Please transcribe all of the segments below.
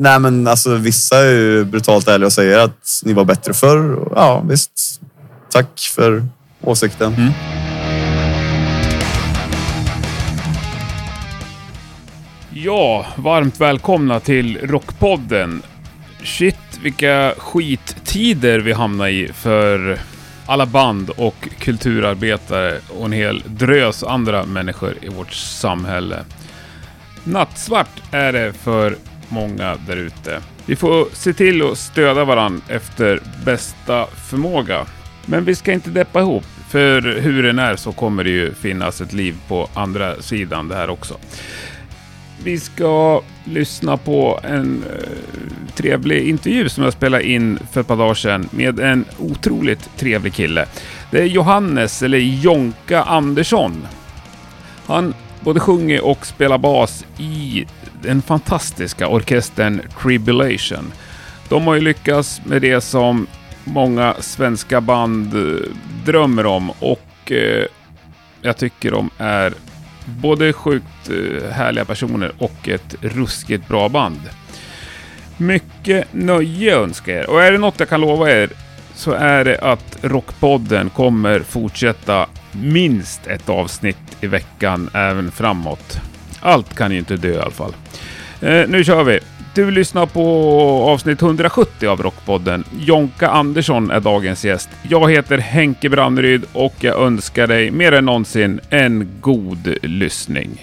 Nej, men alltså vissa är ju brutalt ärliga och säger att ni var bättre förr. Och Ja, visst. Tack för åsikten. Ja, varmt välkomna till Rockpodden. Shit, vilka skittider vi hamnar i för alla band och kulturarbetare och en hel drös andra människor i vårt samhälle. Nattsvart är det för många där ute. Vi får se till att stödja varandra efter bästa förmåga. Men vi ska inte deppa ihop, för hur den är så kommer det ju finnas ett liv på andra sidan det här också. Vi ska lyssna på en eh, trevlig intervju som jag spelade in för ett par dagar sedan med en otroligt trevlig kille. Det är Johannes, eller Jonka Andersson. Han både sjunger och spelar bas i den fantastiska orkestern Tribulation. De har ju lyckats med det som många svenska band eh, drömmer om och eh, jag tycker de är både sjukt eh, härliga personer och ett ruskigt bra band. Mycket nöje önskar jag er. Och är det något jag kan lova er så är det att Rockpodden kommer fortsätta minst ett avsnitt i veckan även framåt. Allt kan ju inte dö i alla fall. Eh, nu kör vi! Du lyssnar på avsnitt 170 av Rockpodden. Jonka Andersson är dagens gäst. Jag heter Henke Branneryd och jag önskar dig mer än någonsin en god lyssning.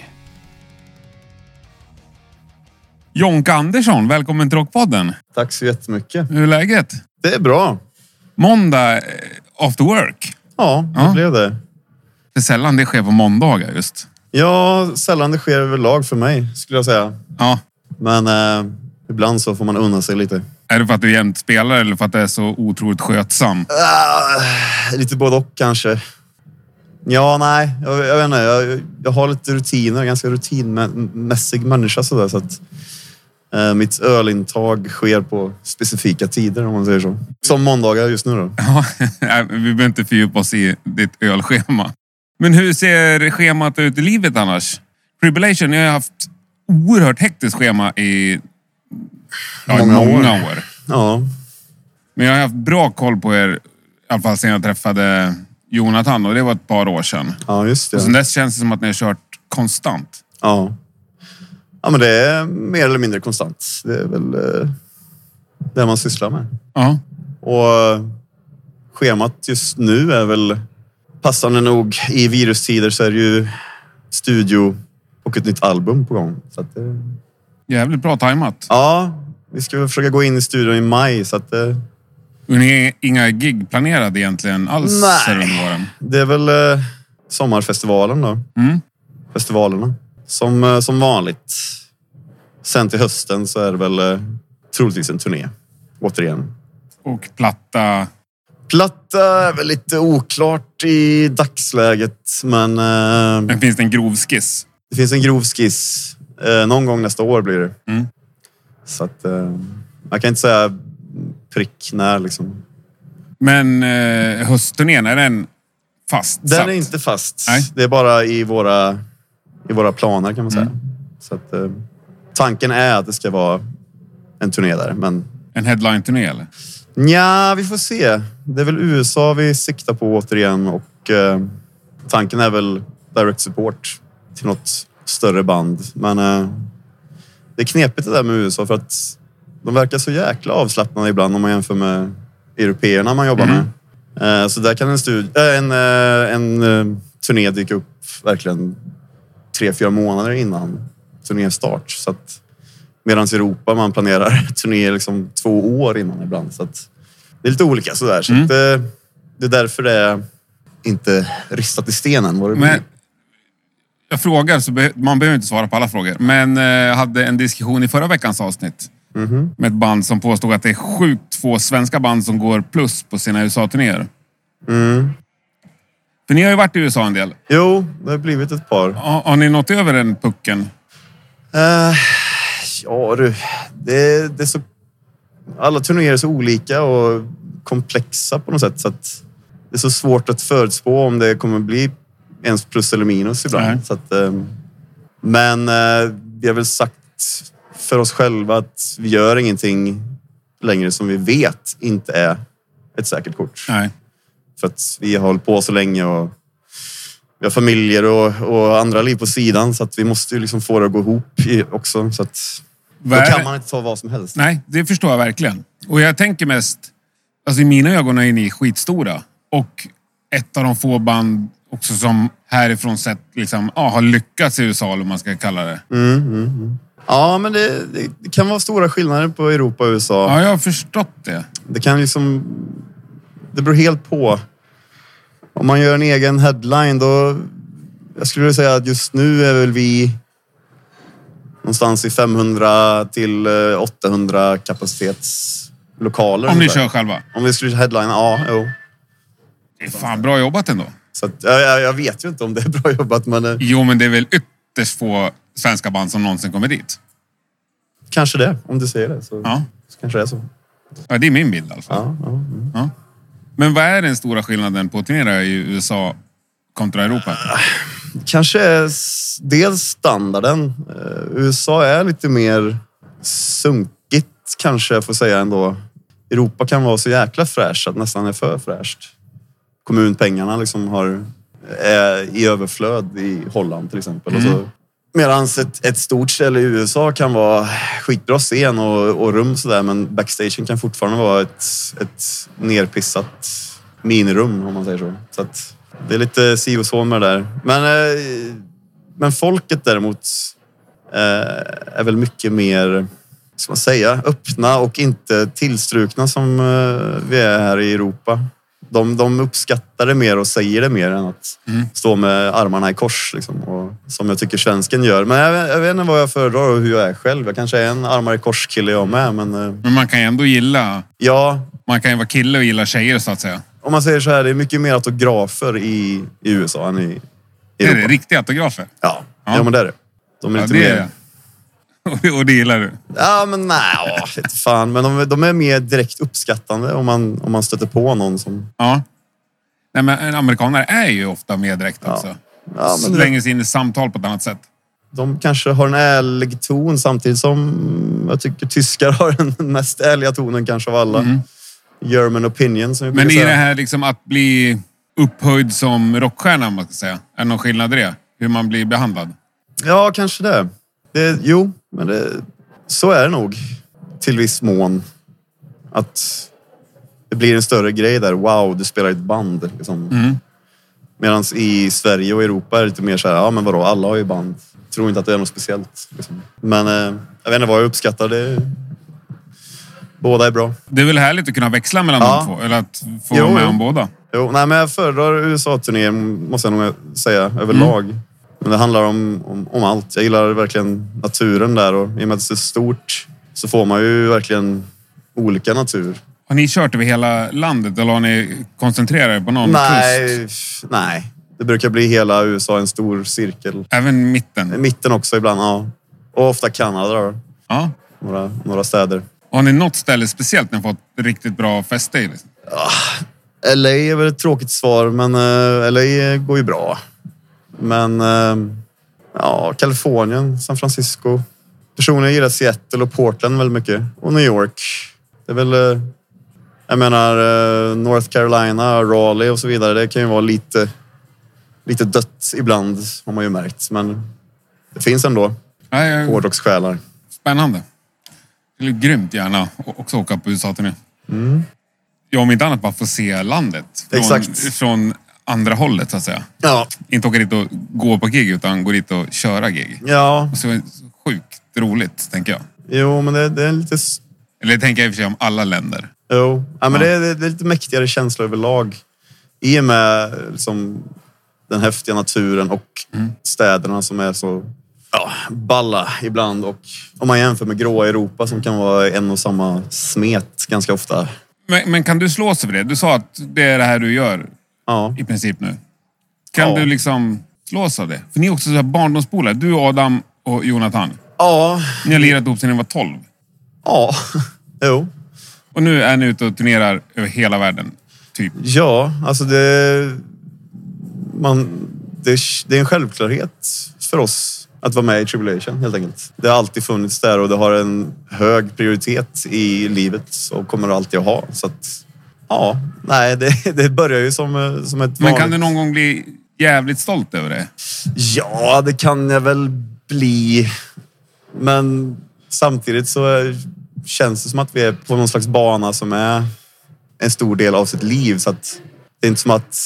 Jonka Andersson, välkommen till Rockpodden. Tack så jättemycket. Hur är läget? Det är bra. Måndag eh, after work. Ja, det Ja. blev det. Det är sällan det sker på måndagar just. Ja, sällan det sker överlag för mig, skulle jag säga. Ja. Men eh, ibland så får man unna sig lite. Är det för att du jämt spelar eller för att det är så otroligt skötsam? Ah, lite både och kanske. Ja, nej. Jag, jag vet inte. Jag, jag har lite rutiner. Ganska rutinmässig människa sådär. Så att, eh, mitt ölintag sker på specifika tider om man säger så. Som måndagar just nu då. Ja, nej, vi behöver inte fördjupa oss i ditt ölschema. Men hur ser schemat ut i livet annars? Tribulation, ni har haft oerhört hektiskt schema i ja, i Många år. många år. Ja, Men jag har haft bra koll på er, i alla fall sen jag träffade Jonathan och det var ett par år sedan. ja just Och sen det. dess känns det som att ni har kört konstant. Ja. ja, men det är mer eller mindre konstant. Det är väl eh, det man sysslar med. Ja. Och schemat just nu är väl passande nog i virustider så är det ju studio och ett nytt album på gång. Så att, eh, Jävligt bra tajmat. ja, vi ska väl försöka gå in i studion i maj så att eh, Och ni har inga gig planerade egentligen alls Nej. här under våren? det är väl eh, sommarfestivalen då. Mm. Festivalerna. Som, eh, som vanligt. Sen till hösten så är det väl eh, troligtvis en turné. Återigen. Och platta... Platta är väl lite oklart i dagsläget men eh, Men finns det en grov skiss? Det finns en grov skiss. Eh, någon gång nästa år blir det. Mm. Så att, eh, jag kan inte säga prick när. Liksom. Men eh, höstturnén, är den fastsatt? Den är inte fast. Nej. Det är bara i våra, i våra planer kan man säga. Mm. Så att, eh, tanken är att det ska vara en turné där. Men En headline-turné eller? nja, vi får se. Det är väl USA vi siktar på återigen och eh, tanken är väl direct support till något större band. Men eh, det är knepigt det där med USA för att de verkar så jäkla avslappnade ibland om man jämför med européerna man jobbar med. Eh, Så där kan en, stud- äh, en, eh, en eh, turné dyka upp verkligen tre, fyra månader innan turnéstart. Så att, medans i Europa man planerar turnéer liksom två år innan ibland. Så att, det är lite olika sådär. Så att, eh, det är därför det är inte ristat i stenen vad det blir. Men, jag frågar, så be- man behöver inte svara på alla frågor. Men eh, jag hade en diskussion i förra veckans avsnitt Mhm. med ett band som påstod att det är sjukt få svenska band som går plus på sina USA-turnéer. Mm. För ni har ju varit i USA en del. Jo, det har blivit ett par. Har, har ni nått över den pucken? Eh, ja du, det, det är så... Alla turnéer är så olika och komplexa på något sätt. Så att det är så svårt att förutspå om det kommer bli ens plus eller minus ibland. Nej. Så att, eh, men eh, vi har väl sagt för oss själva att vi gör ingenting längre som vi vet inte är ett säkert kort. Nej. För att vi har hållit på så länge och vi har familjer och, och andra liv på sidan så att vi måste ju liksom få det att gå ihop i- också. Så att då Vad är- kan man inte ta vad som helst. Nej, det förstår jag verkligen. Och jag tänker mest... Alltså i mina ögon är ni skitstora. Och ett av de få band också som härifrån sett liksom, ja, har lyckats i USA, eller vad man ska kalla det. Mm. Ja, men det, det, det kan vara stora skillnader på Europa och USA. Ja, jag har förstått det. Det kan liksom... Det beror helt på. Om man gör en egen headline då... Jag skulle vilja säga att just nu är väl vi någonstans i 500 till eh, 800 kapacitetslokaler. Om ni ungefär. kör själva. Om vi skulle headline, ja, jo. Det är fan bra jobbat ändå. Så att, jag, jag, jag vet ju inte om det är bra jobbat, men eh, Jo, men det är väl ytterst få svenska band som någonsin kommer dit. kanske det. Om du säger det så, Ja, så kanske det är så. ja det är min bild i alla fall. Ja, ja. mm. Ja. Men vad är den stora skillnaden på att turnera i USA kontra Europa? Kanske är s- dels standarden. Eh, USA är lite mer sunkigt kanske, jag får säga ändå. Europa kan vara så jäkla fräscht att nästan är för fräscht. Kommunpengarna liksom har, är i överflöd i Holland till exempel. Och så, medan ett, ett stort ställe i USA kan vara skitbra scen och, och rum sådär men backstagen kan fortfarande vara ett, ett nerpissat minirum om man säger så. så att, det är lite si och så med det där. Men, eh, men folket däremot eh, är väl mycket mer ska man säga, öppna och inte tillstrukna som eh, vi är här i Europa. De, de uppskattar det mer och säger det mer än att Mm. stå med armarna i kors. Liksom, och, som jag tycker svensken gör. Men jag, jag vet inte vad jag föredrar och hur jag är själv. Jag kanske är en armar i kors-kille jag med. Men eh, Men man kan ju ändå gilla... ja, Man kan ju vara kille och gilla tjejer så att säga. om man säger så här, det är mycket mer autografer i, i USA än i i Det är det, Europa. riktiga autografer. Ja, Ja. ja. men det är det. De är Ja, lite det är mer... det. Och- Och det gillar du? Ja, men nej, åh, vet fan. Men de, de är mer direkt uppskattande om man, om man stöter på någon som... Ja. Nej, men en amerikanare är ju ofta med direkt också. Ja, men du vet, Slänger sig in i samtal på ett annat sätt. de kanske har en ärlig ton samtidigt som jag tycker tyskar har den mest ärliga tonen kanske av alla. German opinion som vi Mm. Men brukar i säga. det här liksom att bli upphöjd som rockstjärna, om man ska säga. Är det någon skillnad i det? Hur man blir behandlad? Ja, kanske det. det jo, men det, så är det nog till viss mån. Att det blir en större grej där. Wow, du spelar i ett band. Liksom. Medan i Sverige och Europa är det lite mer så här, ja men vadå, alla har ju band. Tror inte att det är något speciellt. Liksom. Men eh, jag vet inte vad jag uppskattar. Det, båda är bra. Det är väl härligt att kunna växla mellan Ja. de två? Eller att få Jo, vara med jo. om båda? Jo, nej, men jag föredrar USA-turnéer måste jag nog säga överlag. Men det handlar om, om, om allt. Jag gillar verkligen naturen där och i och med att det är så stort så får man ju verkligen olika natur. Har ni kört över hela landet eller har ni koncentrerat er på någon kust? nej, f- nej. Det brukar bli hela USA en stor cirkel. Även mitten? Mitten också ibland, ja. Och ofta Kanada då. Ja. Några, några städer. Har ni något ställe speciellt ni har fått riktigt bra fäste i? Liksom? LA är väl ett tråkigt svar, men eh, LA går ju bra. Men eh, ja, Kalifornien, San Francisco. Personligen gillar Seattle och Portland väldigt mycket. Och New York. Det är väl... eh, Jag menar eh, North Carolina, Raleigh och så vidare. Det kan ju vara lite, lite dött ibland, har man ju märkt. Men det finns ändå Ja, jag- hårdrockssjälar. Spännande. Skulle grymt gärna o- också åka på USA-turné. Mm. Ja, om inte annat bara få se landet. Från, Exakt. från andra hållet så att säga. Ja, Inte åka dit och gå på gig utan gå dit och köra gig. ja Och så är det så sjukt roligt, tänker jag. jo, men det, det är lite... s- Eller det tänker jag i och för sig om alla länder. Jo, ja, men Det, är, det är lite mäktigare känsla överlag. I och med liksom, den häftiga naturen och städerna som är så ja, balla ibland. Och om man jämför med gråa Europa som kan vara en och samma smet ganska ofta. Men, men kan du slå sig för det? Du sa att det är det här du gör Ja. i princip nu. Kan Ja. du liksom slås av det? För ni är också så här barndomspolare. Du, Adam och Jonathan. Ja. Ni har lirat ihop sedan ni var 12. Ja. Jo. Och nu är ni ute och turnerar över hela världen. Typ. Ja, alltså det... Man, det, är- det är en självklarhet för oss. att vara med i Tribulation helt enkelt. Det har alltid funnits där och det har en hög prioritet i livet och kommer alltid att ha. Så att, ja, nej, det, det börjar ju som, eh, som ett Men kan vanligt- du någon gång bli jävligt stolt över det? Ja, det kan jag väl bli. Men samtidigt så är- känns det som att vi är på någon slags bana som är en stor del av sitt liv. Så att det är inte som att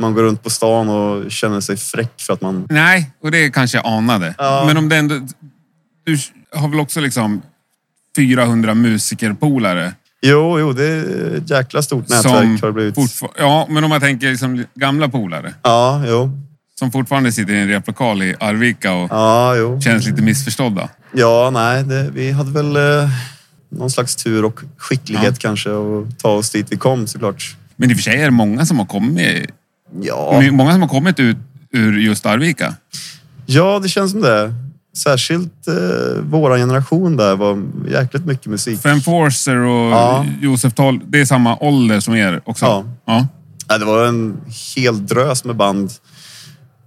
man går runt på stan och känner sig fräck för att man... Nej, och det kanske jag anade. Ja. Men om det ändå... Du har väl också liksom 400 musikerpolare? Jo, jo, det är ett jäkla stort som nätverk har det blivit. fortfar- Ja, men om jag tänker liksom gamla polare Ja, jo. som fortfarande sitter i en replokal i Arvika och Ja, jo. känns lite missförstådda. Ja, nej, det, vi hade väl eh, någon slags tur och skicklighet kanske att ta oss dit vi kom såklart. Men i och för sig är det många som har kommit, Ja. många som har kommit ut ur just Arvika. Ja, det känns som det. Särskilt eh, våran generation där var jäkligt mycket musik. Fem Forcer och Ja. Josef Toll, det är samma ålder som er också? Ja. ja. Nej, det var en hel drös med band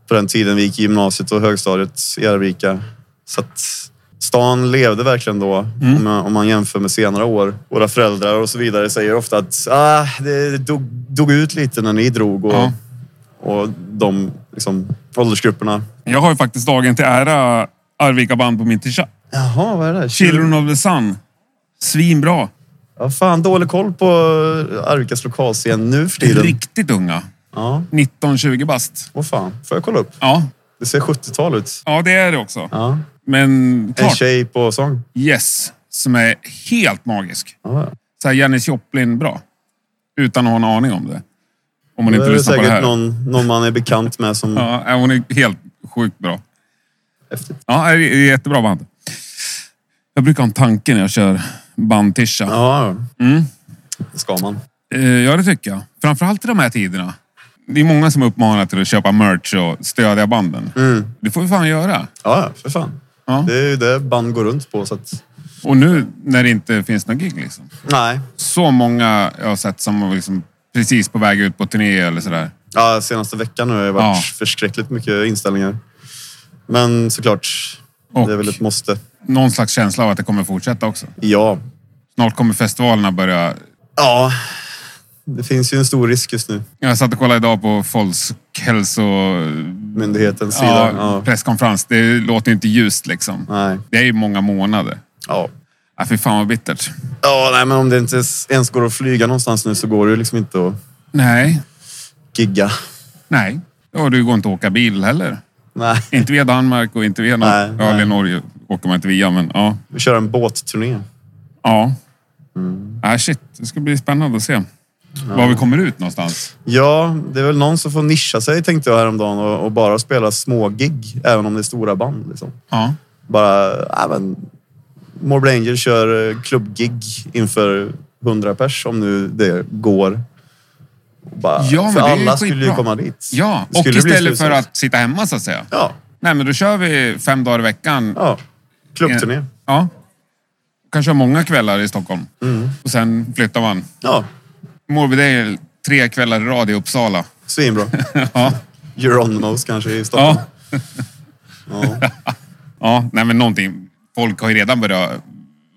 på den tiden vi gick i gymnasiet och högstadiet i Arvika. Så att stan levde verkligen då, Mm. om, man, om man jämför med senare år. Våra föräldrar och så vidare säger ofta att ah, det dog, dog ut lite när ni drog och, Ja. och de liksom, åldersgrupperna. Jag har ju faktiskt dagen till ära Arvika band på min t-shirt. Jaha, vad är det? Children of the Sun. Svinbra. Ja, fan, dålig koll på Arvikas lokalscen nu för tiden. Riktigt unga. Ja. 19-20 bast. Åh fan, får jag kolla upp? Ja. Det ser 70-tal ut. ja, det är det också. Ja. Men En klart. tjej på sång. Yes. Som är helt magisk. Ja. Så här Janis Joplin bra. Utan att ha en aning om det. Om man Det inte är lyssnar på det säkert här. någon, någon man är bekant med som... Ja, nej, hon är helt sjukt bra. Häftigt. Ja, det är det är jättebra band. Jag brukar ha en tanke när jag kör bandtisha. Ja, Mm. det ska man. Eh, Ja, det tycker jag. Framförallt i de här tiderna. Det är många som uppmanar till att köpa merch och stödja banden. Mm. Det får vi fan göra. Ja, ja, för fan. Ja. Det är ju det band går runt på. Så att, Och nu när det inte finns några gig. Liksom. nej, Så många jag har sett som var liksom precis på väg ut på turné eller sådär. ja, senaste veckan nu har det varit Ja. förskräckligt mycket inställningar. Men såklart, Och- det är väl ett måste. Någon slags känsla av att det kommer fortsätta också. Ja. Snart kommer festivalerna börja. ja, det finns ju en stor risk just nu. Jag satt och kollade idag på folkhälso... Myndighetens sida. Ja, Ja. Presskonferens. Det låter ju inte ljust liksom. Nej. Det är ju många månader. Ja. Ja, fy fan vad bittert. ja, nej, men om det inte ens går att flyga någonstans nu så går det ju liksom inte att Nej, gigga. Nej. Ja, det går inte att åka bil heller. Nej, Inte via Danmark och inte via Nej, Norge. Ja, nej. eller Norge åker man inte via, men ja. vi kör en båtturné. Ja. Ah, shit, det ska bli spännande att se var vi kommer ut någonstans. Ja, det är väl någon som får nischa sig tänkte jag häromdagen och, och bara spela små gig även om det är stora band. Liksom. Ja. Bara, ja, men Morbid Angel kör eh, klubbgig inför 100 pers om nu det går. Och Bara, Ja, men för det är ju alla skulle ju skitbra. komma dit. ja, Det och skulle bli istället för slutsålt. att sitta hemma så att säga. Ja, Nej, men då kör vi fem dagar i veckan. ja. klubbturné. Ja. Kan köra många kvällar i Stockholm. Mm. Och sen flyttar man. Ja, Morbid Angel, tre kvällar i rad i Uppsala. svinbra. ja. Euronymous kanske i Stockholm. ja. Ja. Ja, nej men någonting. Folk har ju redan börjat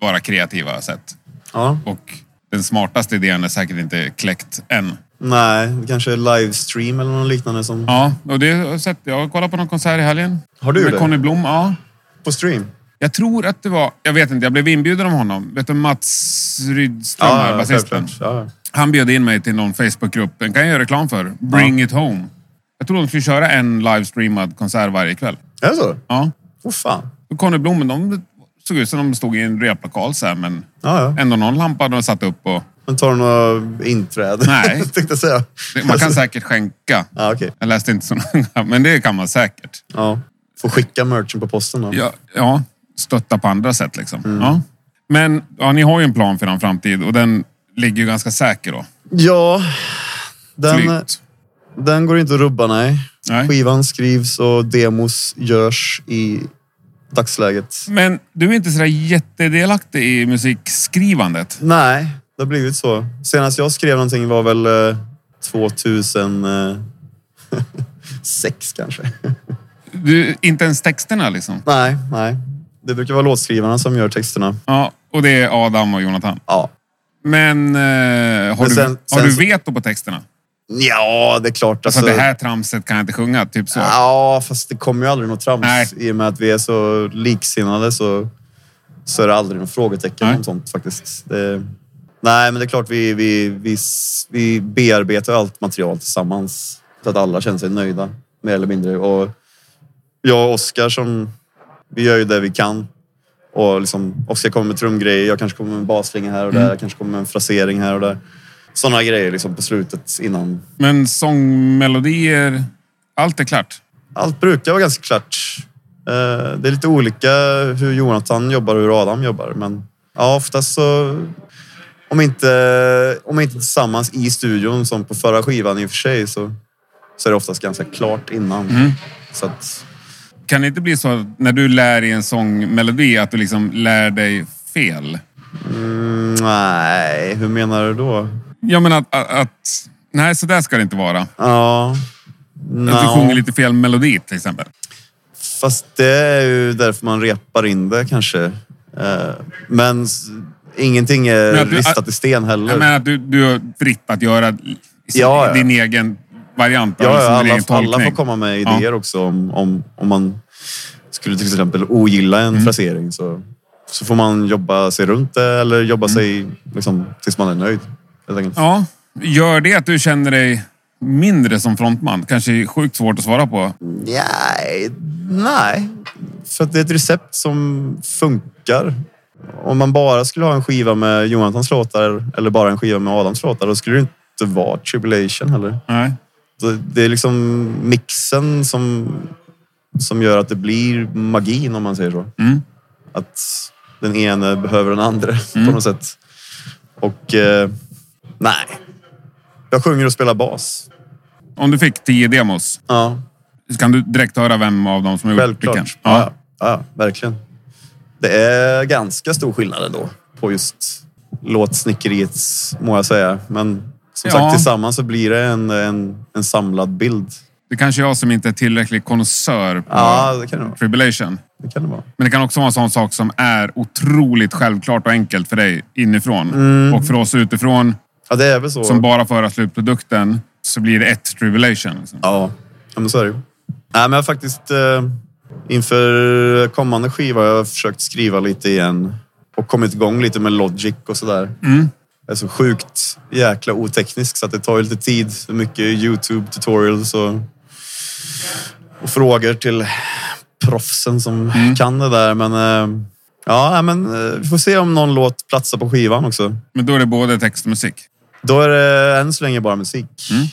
vara kreativa har jag sett. Ja. Och den smartaste idén är säkert inte kläckt än. Nej, det kanske är livestream eller något liknande som... Ja, och det har jag sett. Jag kollade på någon konsert i helgen. Har du Med det? Conny Blom, ja. På stream. Jag tror att det var... Jag vet inte, jag blev inbjuden av honom. Vet du Mats Rydström, här, basisten? självklart. Ja, ja. Han bjöd in mig till någon Facebookgrupp. Den kan jag göra reklam för. Bring it home. Jag tror de skulle köra en livestreamad konsert varje kväll. Är det så? Ja. Åh fan. Och Conny Blom, de såg ut som de stod i en replokal så här, men Ja, ja. ändå någon lampa hade de satt upp och... Men tar du några inträde? Nej. Tänkte jag säga. Det- Man kan säkert skänka. Ja, okej. Jag läste inte så noga, men det kan man säkert. Ja. Får skicka merchen på posten då. Ja, ja stötta på andra sätt liksom. Mm. Ja. Men ja, ni har ju en plan för er framtid och den ligger ju ganska säker då. Ja, den, Flyt. den går inte att rubba, nej. Nej. Skivan skrivs och demos görs i dagsläget. Men du är inte sådär jättedelaktig i musikskrivandet. Nej, det har blivit så. Senast jag skrev någonting var väl eh, 2006 kanske. Du, inte ens texterna liksom. Nej, nej. Det brukar vara låtskrivarna som gör texterna. Ja, och det är Adam och Jonathan. Ja. Men eh, har, Men sen- du, har sen du så- veto på texterna? Ja, det är klart. Alltså, Alltså, det här tramset kan jag inte sjunga, typ så. Ja, fast det kommer ju aldrig något trams. Nej. I och med att vi är så liksinnade så, så är det aldrig något frågetecken Nej. om sånt faktiskt. Det, nej, men det är klart vi, vi, vi, s- vi bearbetar allt material tillsammans så att alla känner sig nöjda, mer eller mindre. Och jag och Oskar, som, vi gör ju det vi kan. Och liksom, Oskar kommer med trumgrejer, jag kanske kommer med en basslinga här och Mm. där, jag kanske kommer med en frasering här och där. Sådana grejer liksom på slutet innan Men sångmelodier, allt är klart. Allt brukar vara ganska klart. Eh, Det är lite olika hur Jonathan jobbar och hur Adam jobbar. Men ja, oftast så... Om inte, om inte tillsammans i studion, som på förra skivan i och för sig, så, så är det oftast ganska klart innan. Mm. Så att, Kan det inte bli så att när du lär dig en sångmelodi att du liksom lär dig fel? mm, nej, hur menar du då? Jag menar att, att, att nej, så där ska det inte vara. Ja... No. Att du sjunger lite fel melodi till exempel. Fast det är ju därför man repar in det kanske. Eh, Men s- ingenting är Men att du- ristat i sten heller. Jag menar att du, du har fritt att göra liksom, Ja, ja. din egen variant. av Ja, liksom, ja din alla, egen alla tolkning. får komma med Ja. idéer också. Om, om, om man skulle till exempel ogilla en Mm. frasering så, så får man jobba sig runt det eller jobba Mm. sig liksom, tills man är nöjd. Helt enkelt. Ja. Gör det att du känner dig mindre som frontman? Kanske är sjukt svårt att svara på. Nej, nej. För att det är ett recept som funkar. Om man bara skulle ha en skiva med Jonathans låtar eller bara en skiva med Adams låtar då skulle det inte vara Tribulation heller. Nej. Det- Det är liksom mixen som, som gör att det blir magin om man säger så. Mm. Att den ene behöver den andra på något sätt. Och eh, nej, jag sjunger och spelar bas. Om du fick tio demos, Ja, så kan du direkt höra vem av dem som har gjort vilken? självklart. Ja. Ja, ja, verkligen. Det är ganska stor skillnad ändå på just låtsnickeriets, må jag säga. Men som Ja. sagt, tillsammans så blir det en, en, en samlad bild. Det kanske är jag som inte är tillräcklig konnässör på Ja, det kan det vara. Tribulation. Det kan det vara. Men det kan också vara en sån sak som är otroligt självklart och enkelt för dig inifrån. Mm. Och för oss utifrån, Ja, det är väl så. som bara får höra slutprodukten, så blir det ett Tribulation. Liksom. Ja, ja men så är det ju. Nej, men jag har faktiskt eh, inför kommande skiva har jag försökt skriva lite igen och kommit igång lite med Logic och sådär. Mm. Jag är så sjukt jäkla oteknisk så att det tar ju lite tid. Det är mycket YouTube tutorials och, och frågor till proffsen som kan det där. Men eh, ja, nej, men eh, vi får se om någon låt platsar på skivan också. Men då är det både text och musik. Då är det än så länge bara musik. Mm.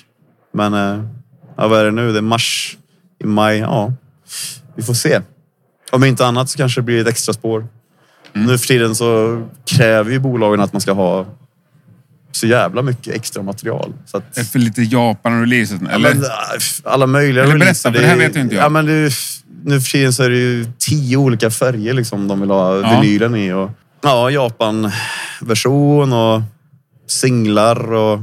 Men eh, ja, vad är det nu? Det är mars. I maj. Ja, vi får se. Om inte annat så kanske det blir ett extra spår. Mm. Nu för tiden så kräver ju bolagen att man ska ha så jävla mycket extra material. Så att, Det är för lite Japan-releasen, eller? men, äh, alla möjliga Eller berätta, releaser, för det här är- vet ju inte jag. Ja, men det, är ju- nu för tiden så är det ju tio olika färger liksom, de vill ha Ja. vinylen i. Och, ja, Japan-version och singlar. Och,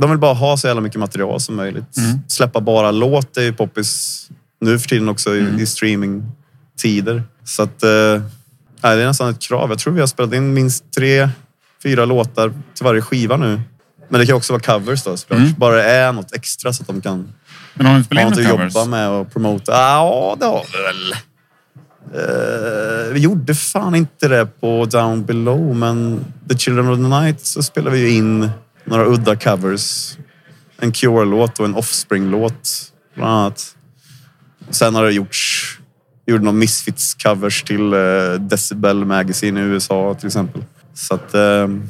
de vill bara ha så jävla mycket material som möjligt. Släppa bara låt är ju poppis nu för tiden också i, i streamingtider. Så att, eh, nej, det är nästan ett krav. Jag tror vi har spelat in minst tre, fyra låtar till varje skiva nu. Men det kan också vara covers då såklart. Bara det är något extra så att de kan Men har du spelat har in inte några covers? jobbat med och promota? Ja, det har vi väl. Eh, vi gjorde fan inte det på Down Below, men The Children of the Night så spelade vi ju in några udda covers. En Cure-låt och en Offspring-låt, bland annat. Sen har det gjorts... Vi gjorde några Misfits-covers till eh, Decibel Magazine i USA till exempel. Så att... ehm,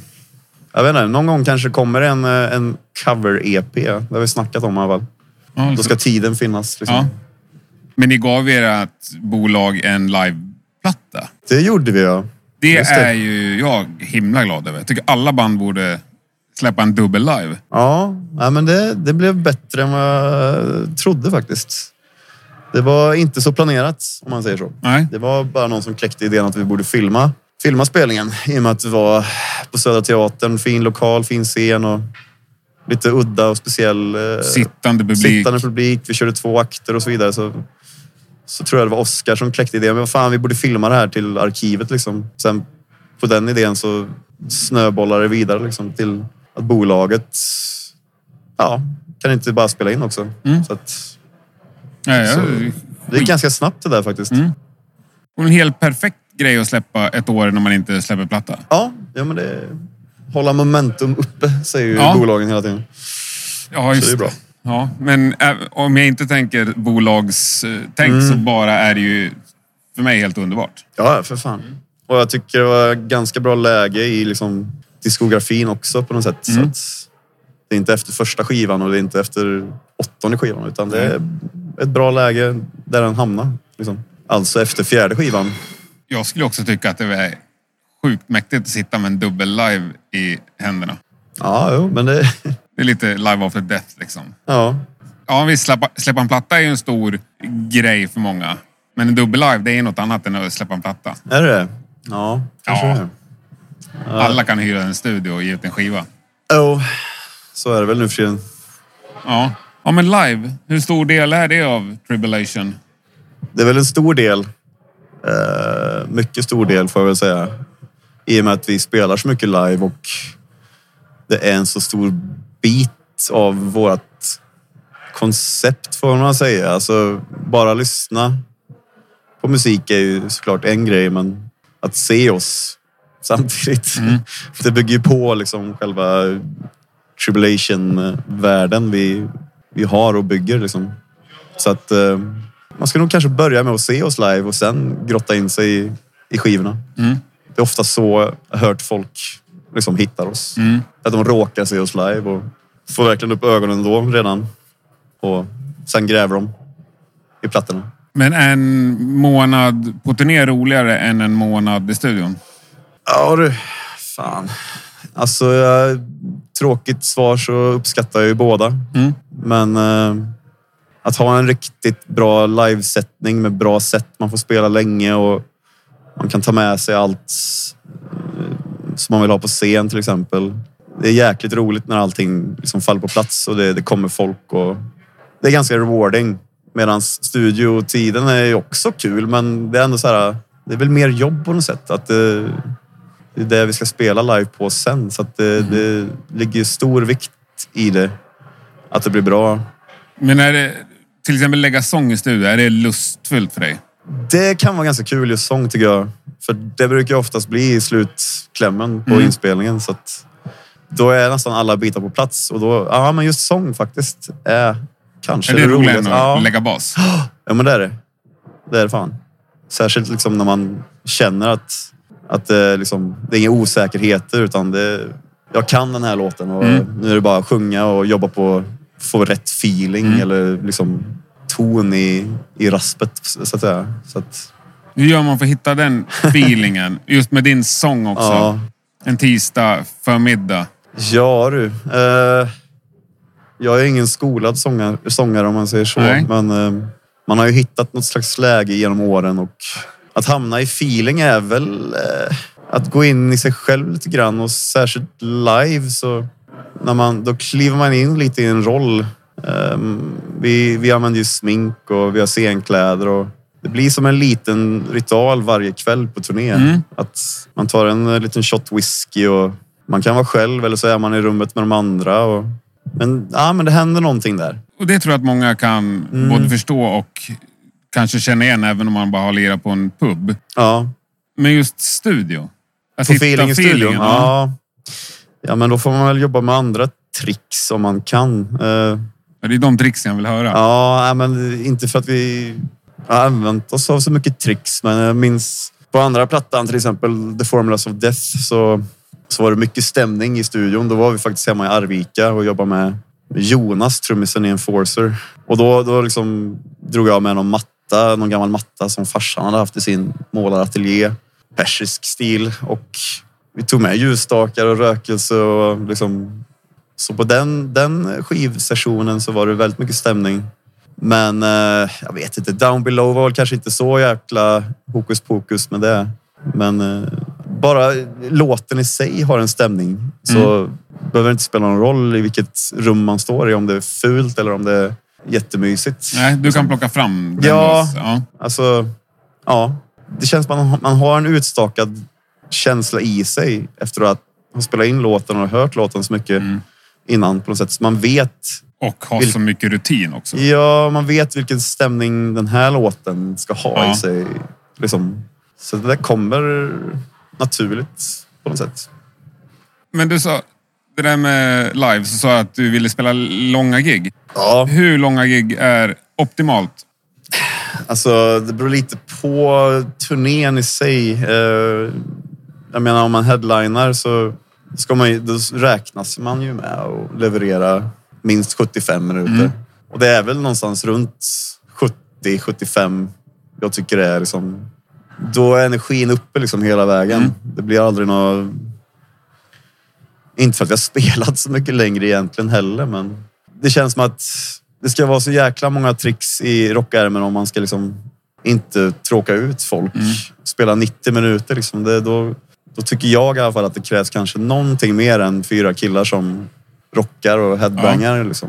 jag vet inte, någon gång kanske kommer en, eh, en cover-EP. Det har vi snackat om i alla fall. Ja, Då ska tiden finnas. Liksom. Mm. ja. Men ni gav ert bolag en liveplatta. Det gjorde vi ja. Det Just det. är ju jag himla glad över. Jag tycker alla band borde släppa en dubbel live. Ja, ja men det, det blev bättre än vad jag trodde faktiskt. Det var inte så planerat om man säger så. Nej. Det var bara någon som kläckte idén att vi borde filma, filma spelningen i och med att det var på Södra Teatern. Fin lokal, fin scen och lite udda och speciell eh, Sittande publik. sittande publik. Vi körde två akter och så vidare. Så, så tror jag det var Oscar som kläckte idén. Men vad fan, vi borde filma det här till arkivet liksom. Sen på den idén så snöbollade det vidare liksom till att bolaget, ja, kan inte bara spela in också. Så att Ja, Mm. ja, Så- det är skit. Mm. ganska snabbt det där faktiskt. Och en helt perfekt grej att släppa ett år när man inte släpper platta. Ja, ja, men det... Hålla momentum uppe, säger ju Ja. bolagen hela tiden. Ja, just Så det är bra. Ja, men ä- om jag inte tänker bolagstänk så Mm. bara är det ju för mig helt underbart. Ja, ja, för fan. Och jag tycker det var ganska bra läge i liksom diskografin också på något sätt. Så att det är inte efter första skivan och det är inte efter åttonde skivan utan det är ett bra läge där den hamnar. Liksom. Alltså efter fjärde skivan. Jag skulle också tycka att det är sjukt mäktigt att sitta med en dubbel live i händerna. Ja, jo, men det... Det är lite live after death liksom. Ja, Ja, visst, släppa, släppa en platta är ju en stor grej för många. Men en dubbel live, det är något annat än att släppa en platta. är det det? Ja, kanske Ja. det. Alla kan hyra en studio och ge ut en skiva. Jo, så är det väl nu för tiden. Ja. ja, men live, hur stor del är det av Tribulation? Det är väl en stor del. Eh, mycket stor del får jag väl säga. I och med att vi spelar så mycket live och det är en så stor bit av vårt koncept får man säga. Alltså bara lyssna på musik är ju såklart en grej men att se oss samtidigt. Det bygger ju på liksom själva tribulation-världen vi, vi har och bygger. Liksom. Så att eh, man ska nog kanske börja med att se oss live och sen grotta in sig i, i skivorna. Det är ofta så jag har hört folk liksom hittar oss. Att de råkar se oss live och får verkligen upp ögonen då redan. Och sen gräver de i plattorna. Men en månad på turné är roligare än en månad i studion. Ja du, fan. Alltså, jag- tråkigt svar så uppskattar jag ju båda. Men eh, att ha en riktigt bra livesättning med bra sätt, man får spela länge och man kan ta med sig allt eh, som man vill ha på scen till exempel. Det är jäkligt roligt när allting liksom faller på plats och det, det kommer folk. Och det är ganska rewarding. Medan studiotiden är ju också kul, men det är ändå så här, det är väl mer jobb på något sätt. Att eh, det, det är det vi ska spela live på sen. Så att det, det ligger ju stor vikt i det. Att det blir bra. Men är det, till exempel lägga sång i studion, är det lustfyllt för dig? Det kan vara ganska kul just sång tycker jag. För det brukar ju oftast bli i slutklämmen på inspelningen. Så att då är nästan alla bitar på plats. Och då, ja men just sång faktiskt är kanske Är det roligare än roligaste. att Ja. lägga bas? Ja, men det är det. Det är det fan. Särskilt liksom när man känner att, att det, är liksom, det är inga osäkerheter utan det, jag kan den här låten och nu är det bara att sjunga och jobba på få rätt feeling eller liksom ton i, i raspet så att säga. Så att, Hur gör man för att hitta den feelingen? Just med din sång också. Ja. En tisdag förmiddag. ja du. Eh, jag är ingen skolad sångare, sångare om man säger så. Nej. Men eh, man har ju hittat något slags läge genom åren och att hamna i feeling är väl eh, att gå in i sig själv lite grann och särskilt live så när man, då kliver man in lite i en roll. Eh, vi, vi använder ju smink och vi har scenkläder och det blir som en liten ritual varje kväll på turné. Att man tar en eh, liten shot whisky och man kan vara själv eller så är man i rummet med de andra. Och, men, ja, men det händer någonting där. Och det tror jag att många kan Mm. både förstå och kanske känna igen även om man bara har lirat på en pub. Ja, Men just studio. Att Få hitta feeling i studion? feelingen, ja. Ja. ja, men då får man väl jobba med andra tricks om man kan. Eh, Det är de tricksen jag vill höra. ja, nej, men inte för att vi har använt oss av så mycket tricks, men jag minns på andra plattan till exempel The Formulas of Death så, så var det mycket stämning i studion. Då var vi faktiskt hemma i Arvika och jobbade med Jonas, trummisen i Enforcer. Och då, då liksom drog jag med någon matta, någon gammal matta som farsan hade haft i sin målarateljé. Persisk stil och vi tog med ljusstakar och rökelse och liksom så på den, den skivsessionen så var det väldigt mycket stämning. Men eh, jag vet inte, Down Below var väl kanske inte så jäkla hokus pokus med det. Men eh, bara låten i sig har en stämning. Så behöver det inte spela någon roll i vilket rum man står i, om det är fult eller om det är jättemysigt. Nej, du kan plocka fram den Ja. då. ja. Alltså, ja. Det känns som att man- man har en utstakad känsla i sig efter att ha spelat in låten och hört låten så mycket innan på något sätt. Så man vet, Och ha Vil- så mycket rutin också. ja, man vet vilken stämning den här låten ska ha Ja. i sig. Liksom. Så det där kommer naturligt på något sätt. Men du sa, det där med live, så sa jag att du ville spela långa gig. Ja, Hur långa gig är optimalt? Alltså, det beror lite på turnén i sig. Eh, Jag menar, om man headliner så ska man, ju- då räknas man ju med att leverera minst 75 minuter. Och det är väl någonstans runt 70-75 jag tycker det är liksom... Då är energin uppe liksom hela vägen. Det blir aldrig något... Inte för att jag spelat så mycket längre egentligen heller, men det känns som att det ska vara så jäkla många tricks i rockärmen om man ska liksom inte tråka ut folk. Spela 90 minuter, liksom det, då, då tycker jag i alla fall att det krävs kanske någonting mer än fyra killar som rockar och headbangar. Liksom.